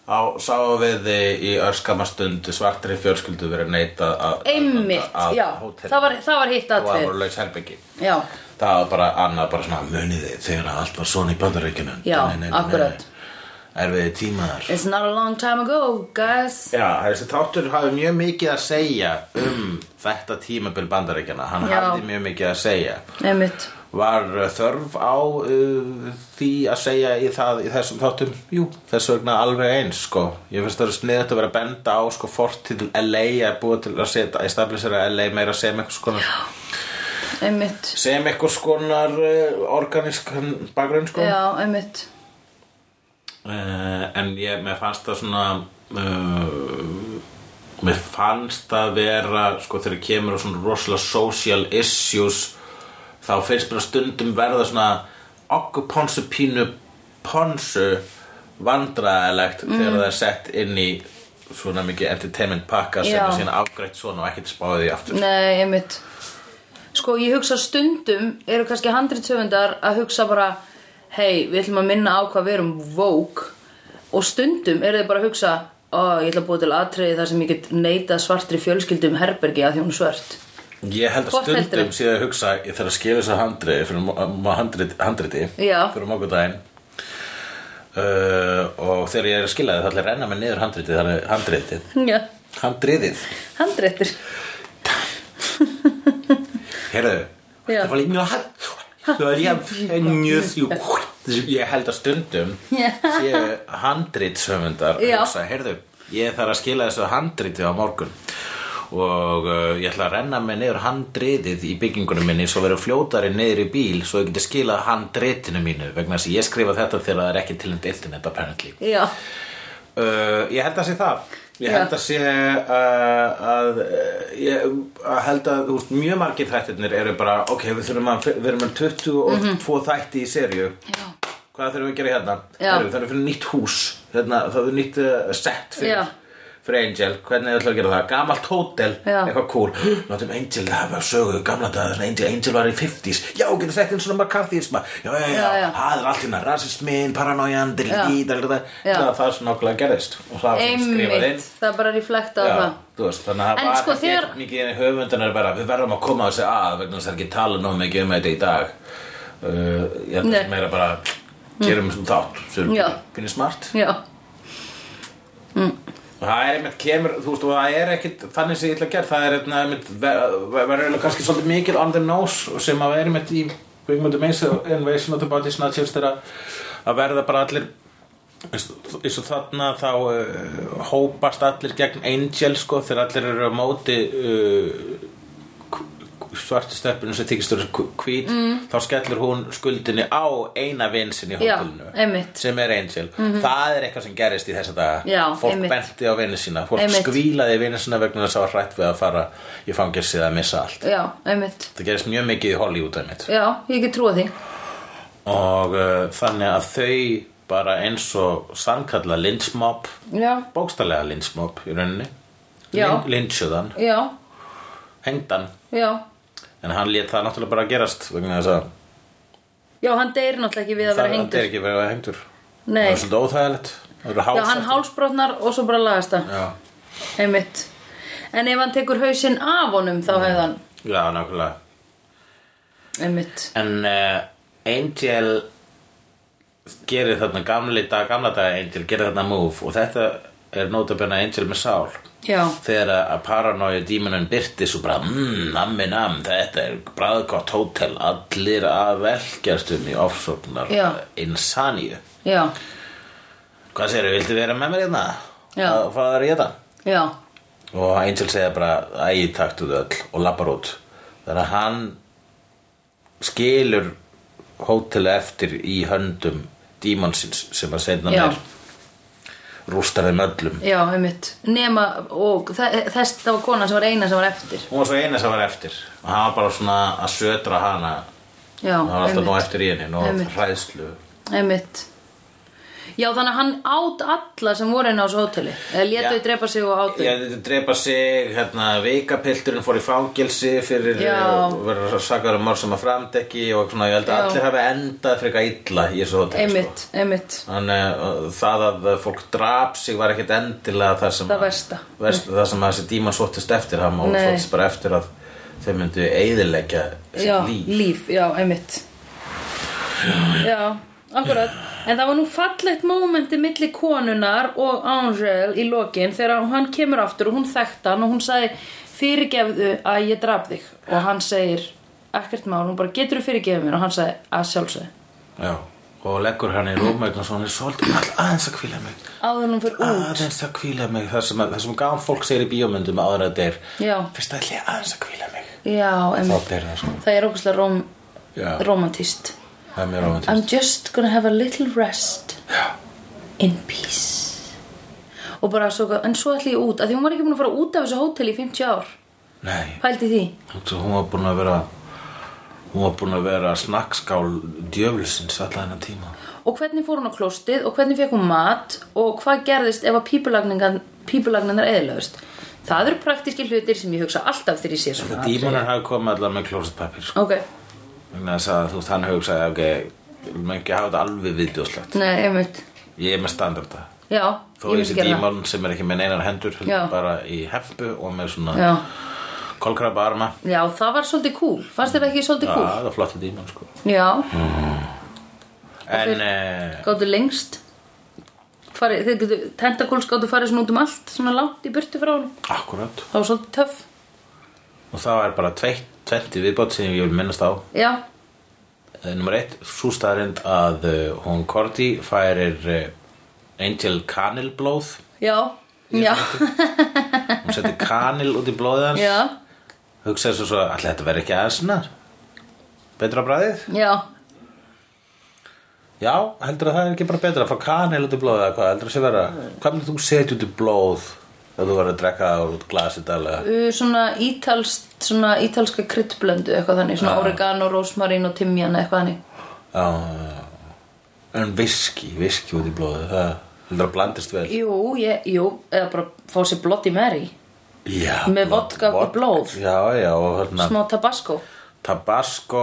[SPEAKER 3] á sáum við eh, í örskama stund svartri fjölskyldu verið neita að
[SPEAKER 2] einmitt
[SPEAKER 3] að-
[SPEAKER 2] já,
[SPEAKER 3] að hótelinu.
[SPEAKER 2] það var, það var hitt
[SPEAKER 3] og það
[SPEAKER 2] aðtrið
[SPEAKER 3] voru laus herbyggi
[SPEAKER 2] já,
[SPEAKER 3] það var bara annað bara svona munið þið þegar að allt var svona í bandaríkjunum
[SPEAKER 2] Já, akkurat.
[SPEAKER 3] erfiði tímaðar
[SPEAKER 2] it's not a long time ago guys
[SPEAKER 3] já, þessi þáttur hafi mjög mikið að segja um þetta tímabil bandaríkjana hann
[SPEAKER 2] Já.
[SPEAKER 3] hafði mjög mikið að segja
[SPEAKER 2] einmitt,
[SPEAKER 3] var uh, þörf á uh, því að segja í, það, í þessum þáttum Jú, þess vegna alveg eins sko. ég finnst það er sniðið að vera að benda á sko, fortíð LA að búa til að setja establisera LA meira sem eitthvað skonar
[SPEAKER 2] einmitt
[SPEAKER 3] sem eitthvað skonar uh, organisk bakgrunn sko.
[SPEAKER 2] já, einmitt
[SPEAKER 3] uh, en ég, mér fannst það svona uh, mér fannst það vera sko þegar kemur á svona rosalega social issues þá finnst bara stundum verða svona okkur ponsu pínu ponsu vandræðilegt þegar það er sett inn í svona mikið entertainment pakka sem
[SPEAKER 2] Já.
[SPEAKER 3] er síðan afgreitt svona og ekkert spáðið í aftur
[SPEAKER 2] Nei, einmitt Sko, ég hugsa stundum eru kannski handritsöfundar að hugsa bara hei, við ætlum að minna á hvað við erum vók og stundum eru þið bara að hugsa ó, ég ætla að búa til atriði þar sem ég get neita svartri fjölskyldum herbergi að um því hún er svört
[SPEAKER 3] Ég held að
[SPEAKER 2] Hvort heldurðu?
[SPEAKER 3] stundum sé að hugsa ég þarf að skila þessu handriði fyrir mo- mo- handrit- handriti
[SPEAKER 2] Já.
[SPEAKER 3] fyrir mokudaginn uh, og þegar ég er að skila það þá ætla ég að renna mig niður handritið þannig handritið
[SPEAKER 2] Já,
[SPEAKER 3] handriðið
[SPEAKER 2] handréttur
[SPEAKER 3] Heyrðu,
[SPEAKER 2] Já.
[SPEAKER 3] það var líka mjög hand það var líka mjög þjú ég held að stundum
[SPEAKER 2] Já.
[SPEAKER 3] sé handritshöfundar að
[SPEAKER 2] Já.
[SPEAKER 3] hugsa, heyrðu, ég þarf að skila þessu handritið á morgun og uh, ég ætla að renna mig niður handriðið í byggingunum minni svo verður fljótari niður í bíl svo ég geti skilað handritinu mínu vegna þess að ég skrifa þetta þegar það er ekki til en internet apparently
[SPEAKER 2] Já,
[SPEAKER 3] Uh, ég held að sé það Ég
[SPEAKER 2] Já.
[SPEAKER 3] held að sé uh, að uh, ég að held að úr, mjög margir þættirnir eru bara ok, við þurfum að við erum með 22 þætti í serju
[SPEAKER 2] Mhm. Já.
[SPEAKER 3] Hvað þurfum við að gera hérna?
[SPEAKER 2] Já.
[SPEAKER 3] Heyrðu, Það er fyrir nýtt hús hérna, það er nýtt uh, set
[SPEAKER 2] Já.
[SPEAKER 3] fyrir, fyrir Angel Hvernig ætlum við að gera það? Gamalt hótel,
[SPEAKER 2] Já.
[SPEAKER 3] eitthvað cool Látum Angel, það var sögu gamla dagar þegar Angel, Angel var í 50s Já, getur sett inn svona makarþísma Já, já, já,
[SPEAKER 2] Já, já.
[SPEAKER 3] það er allt hérna rasismin, paranoian, dildí,
[SPEAKER 2] Já.
[SPEAKER 3] dildí, dildí
[SPEAKER 2] Já.
[SPEAKER 3] það, það er svona okkurlega gerðist og það var skrifað inn
[SPEAKER 2] einmitt Það er bara reflekta á
[SPEAKER 3] Já,
[SPEAKER 2] það
[SPEAKER 3] þú veist, þannig að
[SPEAKER 2] En
[SPEAKER 3] það var
[SPEAKER 2] sko,
[SPEAKER 3] ekki
[SPEAKER 2] þegar-
[SPEAKER 3] mikið höfundunar bara, við verðum að koma þessi að vegna þess að það er ekki tala nóg mikið um þetta í dag uh, ég held
[SPEAKER 2] Nei.
[SPEAKER 3] að meira bara gerum mm. þátt sem
[SPEAKER 2] Já.
[SPEAKER 3] finnir smart
[SPEAKER 2] Já,
[SPEAKER 3] og það er einmitt kemur, þú veist, og það er ekkit þannig sem ég ætla að gera, það er einmitt, einmitt ver- verður eiginlega kannski svolítið mikið on the nose sem að vera einmitt í Kvikmyndum eins og Invasion of the Body Snatchers þegar að verða bara allir eins og eins og þarna þá uh, hópast allir gegn Angel sko þegar allir eru á móti uh, svartu steppinu sem þykist þú hvít mm. þá skellur hún skuldinni á eina vinsin í
[SPEAKER 2] Já,
[SPEAKER 3] hótelinu
[SPEAKER 2] einmitt. Mhm.
[SPEAKER 3] sem er Angel það er eitthvað sem gerist í þessa daga
[SPEAKER 2] Já,
[SPEAKER 3] fólk
[SPEAKER 2] einmitt.
[SPEAKER 3] benti á vinnu sína fólk
[SPEAKER 2] Einmitt.
[SPEAKER 3] skvílaði vinnu sína vegna þess að það var hrætt við að fara í fangelsi eða að missa allt
[SPEAKER 2] já, einmitt
[SPEAKER 3] það gerist mjög mikið í Hollywood einmitt
[SPEAKER 2] Já, ég get trúa því
[SPEAKER 3] og uh, þannig að þau bara eins og sannkalla lynchmob
[SPEAKER 2] Já,
[SPEAKER 3] bókstallega lynchmob í rauninni
[SPEAKER 2] Já.
[SPEAKER 3] Lyn- lynchuðan,
[SPEAKER 2] já,
[SPEAKER 3] hengdan
[SPEAKER 2] já
[SPEAKER 3] en hann lét það náttúrulega bara gerast vegna þess að
[SPEAKER 2] Já, hann deyr náttúrulega ekki við að
[SPEAKER 3] það
[SPEAKER 2] vera
[SPEAKER 3] það
[SPEAKER 2] hengdur
[SPEAKER 3] er ekki verið að vera hengdur
[SPEAKER 2] Nei.
[SPEAKER 3] það er svolítið óþægilegt það eru
[SPEAKER 2] Já, hann
[SPEAKER 3] hálsáttir.
[SPEAKER 2] hálsbrotnar og svo bara lagast það
[SPEAKER 3] já,
[SPEAKER 2] Einmitt En ef hann tekur hausinn af honum þá hefði hann
[SPEAKER 3] já, nákvæmlega
[SPEAKER 2] Einmitt
[SPEAKER 3] en uh, Angel gerir þarna gamli dag, gamla dag Angel gerir þarna move og þetta er nótabenna Angel með sál
[SPEAKER 2] Já,
[SPEAKER 3] þegar að paranoia dímunum byrti svo bara, mmm, nammi namm þetta er bræðgott hótel allir að velkjast um í ofsóknar
[SPEAKER 2] Já.
[SPEAKER 3] insaníu
[SPEAKER 2] já,
[SPEAKER 3] hvað segir, viltu vera með mér hérna?
[SPEAKER 2] Já.
[SPEAKER 3] að fara að rétta?
[SPEAKER 2] já
[SPEAKER 3] og Angel segja bara æg taktu þau öll og lappar út þannig að hann skilur hótela eftir í höndum dímonsins sem að segna
[SPEAKER 2] Já.
[SPEAKER 3] mér rústar þeim öllum
[SPEAKER 2] Já, einmitt Nema, og þe- þess það var kona sem var eina sem var eftir
[SPEAKER 3] hún var svo eina sem var eftir og hann var bara svona að södra hana
[SPEAKER 2] Já,
[SPEAKER 3] hann var alltaf
[SPEAKER 2] einmitt
[SPEAKER 3] nóg eftir í henni nóg
[SPEAKER 2] Einmitt.
[SPEAKER 3] hræðslu
[SPEAKER 2] Einmitt Já, þannig að hann át alla sem voru inn á þessu hóteli Eða
[SPEAKER 3] Já.
[SPEAKER 2] létu þau drepa sig og átu
[SPEAKER 3] ég drepa sig, hérna, veikapilturinn fór í fangilsi fyrir
[SPEAKER 2] Já.
[SPEAKER 3] verður sakar um mál sem að framdekki og svona, ég held að
[SPEAKER 2] Já.
[SPEAKER 3] allir hafi endað frekar illa í þessu hótel sko.
[SPEAKER 2] Einmitt, einmitt
[SPEAKER 3] Þannig að það að fólk drap sig var ekkit endilega það sem
[SPEAKER 2] Það versta.
[SPEAKER 3] verst, Það sem að þessi díman svottist eftir Það má
[SPEAKER 2] Nei.
[SPEAKER 3] svottist bara eftir að þau myndu eigðilegja
[SPEAKER 2] Já,
[SPEAKER 3] líf
[SPEAKER 2] líf, já, einmitt Já, akkurat En það var nú fallegt mómenti milli konunar og Angel í lokin þegar hann kemur aftur og hún þekkt hann og hún sagði fyrirgefðu að ég draf þig og hann segir ekkert mál, hún bara getur þú fyrirgefið mér og hann sagði að sjálfsög
[SPEAKER 3] Já Og leggur hann í rúmveikn og svona er svolítið all, aðeins að hvíla mig
[SPEAKER 2] áður en hún fyrir út
[SPEAKER 3] Aðeins að hvíla mig Það sem, það sem gafum fólk segir í bíómyndum áður að þetta
[SPEAKER 2] Já.
[SPEAKER 3] er Fyrst ætli ég aðeins að hvíla mig
[SPEAKER 2] Já,
[SPEAKER 3] Þá
[SPEAKER 2] einmitt
[SPEAKER 3] byrja það sko
[SPEAKER 2] Það er ókvæslega róm,
[SPEAKER 3] Já.
[SPEAKER 2] romantist
[SPEAKER 3] Það er mjög romantist
[SPEAKER 2] I'm just gonna have a little rest In peace Og bara svo, en svo ætla ég út að Því hún var ekki búin að fara út af þessu hótel í 50 ár
[SPEAKER 3] Nei
[SPEAKER 2] Pældi því
[SPEAKER 3] Svo hún var búin að vera Hún var búin að vera snakkskál djöfulsins allan að tíma
[SPEAKER 2] Og hvernig fór hún á klóstið og hvernig fekk hún mat Og hvað gerðist ef að pípulagningan- pípulagningar eðilöðust Það eru praktíski hlutir sem ég hugsa alltaf þegar ég sé svona
[SPEAKER 3] Dímonar hafi komið allar með klósetpapir sko.
[SPEAKER 2] Ok,
[SPEAKER 3] vegna þess að þú veist hann hugsaði ok, við maður ekki hafa þetta alveg viðbjóðslegt
[SPEAKER 2] nei, einmitt
[SPEAKER 3] ég er með standarda
[SPEAKER 2] Já,
[SPEAKER 3] þó
[SPEAKER 2] ég
[SPEAKER 3] ég
[SPEAKER 2] myndi
[SPEAKER 3] sé
[SPEAKER 2] gera það.
[SPEAKER 3] dímon sem er ekki með neinar hendur heldur
[SPEAKER 2] Já.
[SPEAKER 3] bara í hefpu og með svona
[SPEAKER 2] Já,
[SPEAKER 3] kolkrabba arma
[SPEAKER 2] Já, það var svolítið cool. Fannst þér það ekki svolítið
[SPEAKER 3] Já,
[SPEAKER 2] cool?
[SPEAKER 3] það er flottir dímon sko
[SPEAKER 2] Já,
[SPEAKER 3] En,
[SPEAKER 2] þeir-
[SPEAKER 3] eh,
[SPEAKER 2] gáttu lengst. Fari, þeir getur, tentakúls gáttu farið svona út um allt, svona langt í burtu frá honum.
[SPEAKER 3] akkurat
[SPEAKER 2] Það var svolítið töff.
[SPEAKER 3] Og það er bara tveitt, tventi viðbót sem ég vil minnast á
[SPEAKER 2] Já,
[SPEAKER 3] Eh, Númer eitt, svo staðarind að eh, hún Korti færir eh, Angel kanilblóð
[SPEAKER 2] já, já,
[SPEAKER 3] Hún setur kanil út í blóðið hans
[SPEAKER 2] já,
[SPEAKER 3] Hugsaði svo svo, allir þetta verður ekki aðeins snar Betra bræðið?
[SPEAKER 2] já.
[SPEAKER 3] Já, heldur að það er ekki bara betra að fá kanil út í blóðið eða hvað heldur að sé vera Hvað myndir þú setja út í blóð ef þú verður að drekka það úr glasi daglega?
[SPEAKER 2] Uh, Svona ítalst, svona ítalska kryddblöndu eitthvað þannig, svona oregano, rosmarín og timjan eitthvað þannig.
[SPEAKER 3] Já, já, já. En viski, viski út í blóðið, það heldur að blandist vel
[SPEAKER 2] Jú, ég, jú, eða bara fá sér Bloody Mary,
[SPEAKER 3] Já,
[SPEAKER 2] Með
[SPEAKER 3] blóð-
[SPEAKER 2] vodka og
[SPEAKER 3] vod-
[SPEAKER 2] blóð.
[SPEAKER 3] Já, já, og hérna
[SPEAKER 2] smá tabasco.
[SPEAKER 3] tabasco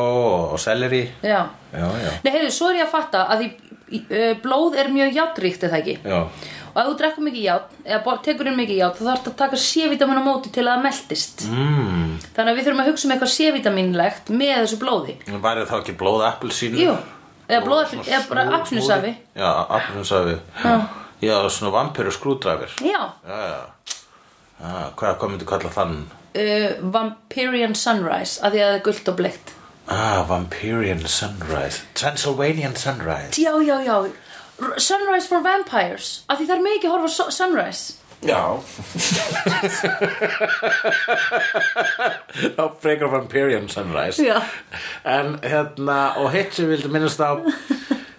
[SPEAKER 3] og selleri
[SPEAKER 2] Já.
[SPEAKER 3] Já, já,
[SPEAKER 2] Nei, heyrðu, svo er ég að fatta að því, í- uh, blóð er mjög játríkt, er það ekki?
[SPEAKER 3] já
[SPEAKER 2] Og ef þú drekkur mikið ját, eða bor- tekur inn mikið ját, þá þarf að taka C-vitamin á móti til að það meltist.
[SPEAKER 3] mm.
[SPEAKER 2] Þannig að við þurfum að hugsa um eitthvað C-vitaminlegt með þessu blóði.
[SPEAKER 3] Væri þá ekki blóð appelsínu?
[SPEAKER 2] Jú, eða
[SPEAKER 3] Og
[SPEAKER 2] blóð,
[SPEAKER 3] svona
[SPEAKER 2] eða bara
[SPEAKER 3] snúður-
[SPEAKER 2] apsunusafi.
[SPEAKER 3] Já, appelsinsafi Já, svona vampiru skrúdræfir
[SPEAKER 2] Já,
[SPEAKER 3] Já, já Já, hvað, hvað myndi kalla þann?
[SPEAKER 2] uh, Vampirian Sunrise, að því að það er gult og bleikt.
[SPEAKER 3] Ah, Vampirian Sunrise Transylvanian Sunrise
[SPEAKER 2] Já, já, já, R Sunrise for Vampires, að því það er mikið að horfa á su- Sunrise.
[SPEAKER 3] Já Þá frekar Vampirian Sunrise
[SPEAKER 2] Já.
[SPEAKER 3] En hérna Og hitt sem vildi minnast á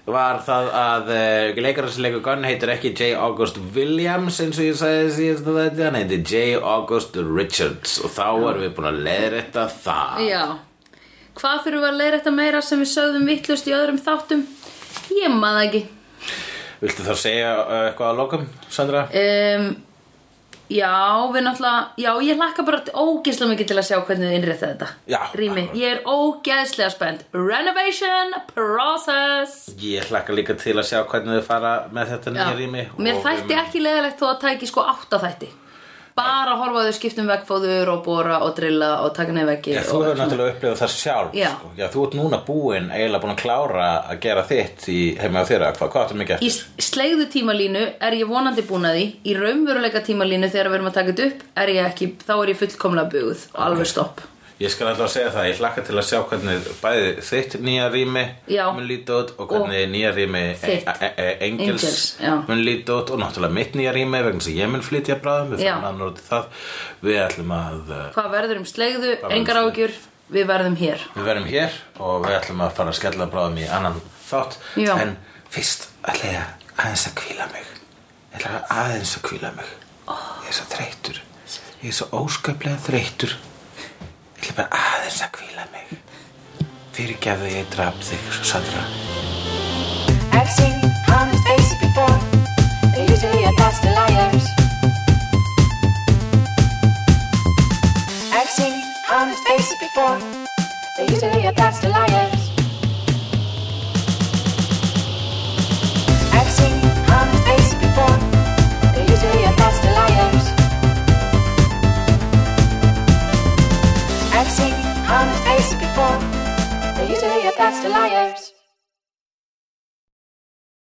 [SPEAKER 3] Var það að uh, leikara sem leikur Gunn heitir ekki J. August Williams eins og ég sagði síðast að þetta Hann heitir J. August Richards Og þá erum við búin að leiðrétta það
[SPEAKER 2] Já Hvað fyrir við að leiða þetta meira sem við sögðum vittlust í öðrum þáttum? Ég maður það ekki
[SPEAKER 3] Viltu þá segja uh, eitthvað að lokum, Sandra?
[SPEAKER 2] um, Já, við náttúrulega Já, ég hlakka bara ógeðslega mikið til að sjá hvernig þið innrétta þetta
[SPEAKER 3] Já,
[SPEAKER 2] Rými,
[SPEAKER 3] akkurat.
[SPEAKER 2] ég er ógeðslega spennt Renovation process
[SPEAKER 3] Ég hlakka líka til að sjá hvernig þau fara með þetta nýja rými
[SPEAKER 2] Mér
[SPEAKER 3] og við
[SPEAKER 2] þætti ekki leiðilegt þó að tæki sko átta þætti Bara horfa á þau skiptum vegfóður og bóra og drilla og taka neð veggi
[SPEAKER 3] Já, þú hefur náttúrulega upplifað það sjálf
[SPEAKER 2] Já.
[SPEAKER 3] Sko. Já, þú ert núna búinn eiginlega búinn að klára að gera þitt í heima á þeirra hvað, hvað áttum mikið
[SPEAKER 2] Í
[SPEAKER 3] eftir?
[SPEAKER 2] slegðu tímalínu er ég vonandi búin að því Í raunveruleika tímalínu þegar við erum að taka þetta upp er ég ekki, Þá er ég fullkomlega buguð og alveg stopp
[SPEAKER 3] Ég skal alltaf segja það, ég hlakka til að sjá hvernig bæði þitt nýja rými
[SPEAKER 2] Já.
[SPEAKER 3] mun líta út og hvernig nýja rými
[SPEAKER 2] þitt.
[SPEAKER 3] e- e- e- Engels
[SPEAKER 2] Engels, já.
[SPEAKER 3] mun líta út og náttúrulega mitt nýja rými vegna sem ég mun flytja bráðum við
[SPEAKER 2] Já.
[SPEAKER 3] fyrir annar út í það Við ætlum að, uh,
[SPEAKER 2] Hvað verður um slegðu,
[SPEAKER 3] verður um
[SPEAKER 2] engar
[SPEAKER 3] slegðu?
[SPEAKER 2] ágjur Við verðum hér
[SPEAKER 3] við verðum hér og við ætlum að fara að skella bráðum í annan þátt
[SPEAKER 2] Já.
[SPEAKER 3] En fyrst ætla ég aðeins að kvíla mig Ég ætla aðeins að kvíla mig Ég er svo þreytur Ég er svo ósköflega þreytur Ég ætla bara aðeins að kvíla mig Fyrirgefðu ég draf þig, Sandra
[SPEAKER 1] I've seen honest faces before. They're usually a pass to liars. I've seen honest faces before. They're usually a pass to liars. I've seen honest faces before. They're usually a pass to liars. I've seen honest faces before. They're usually a pass to liars.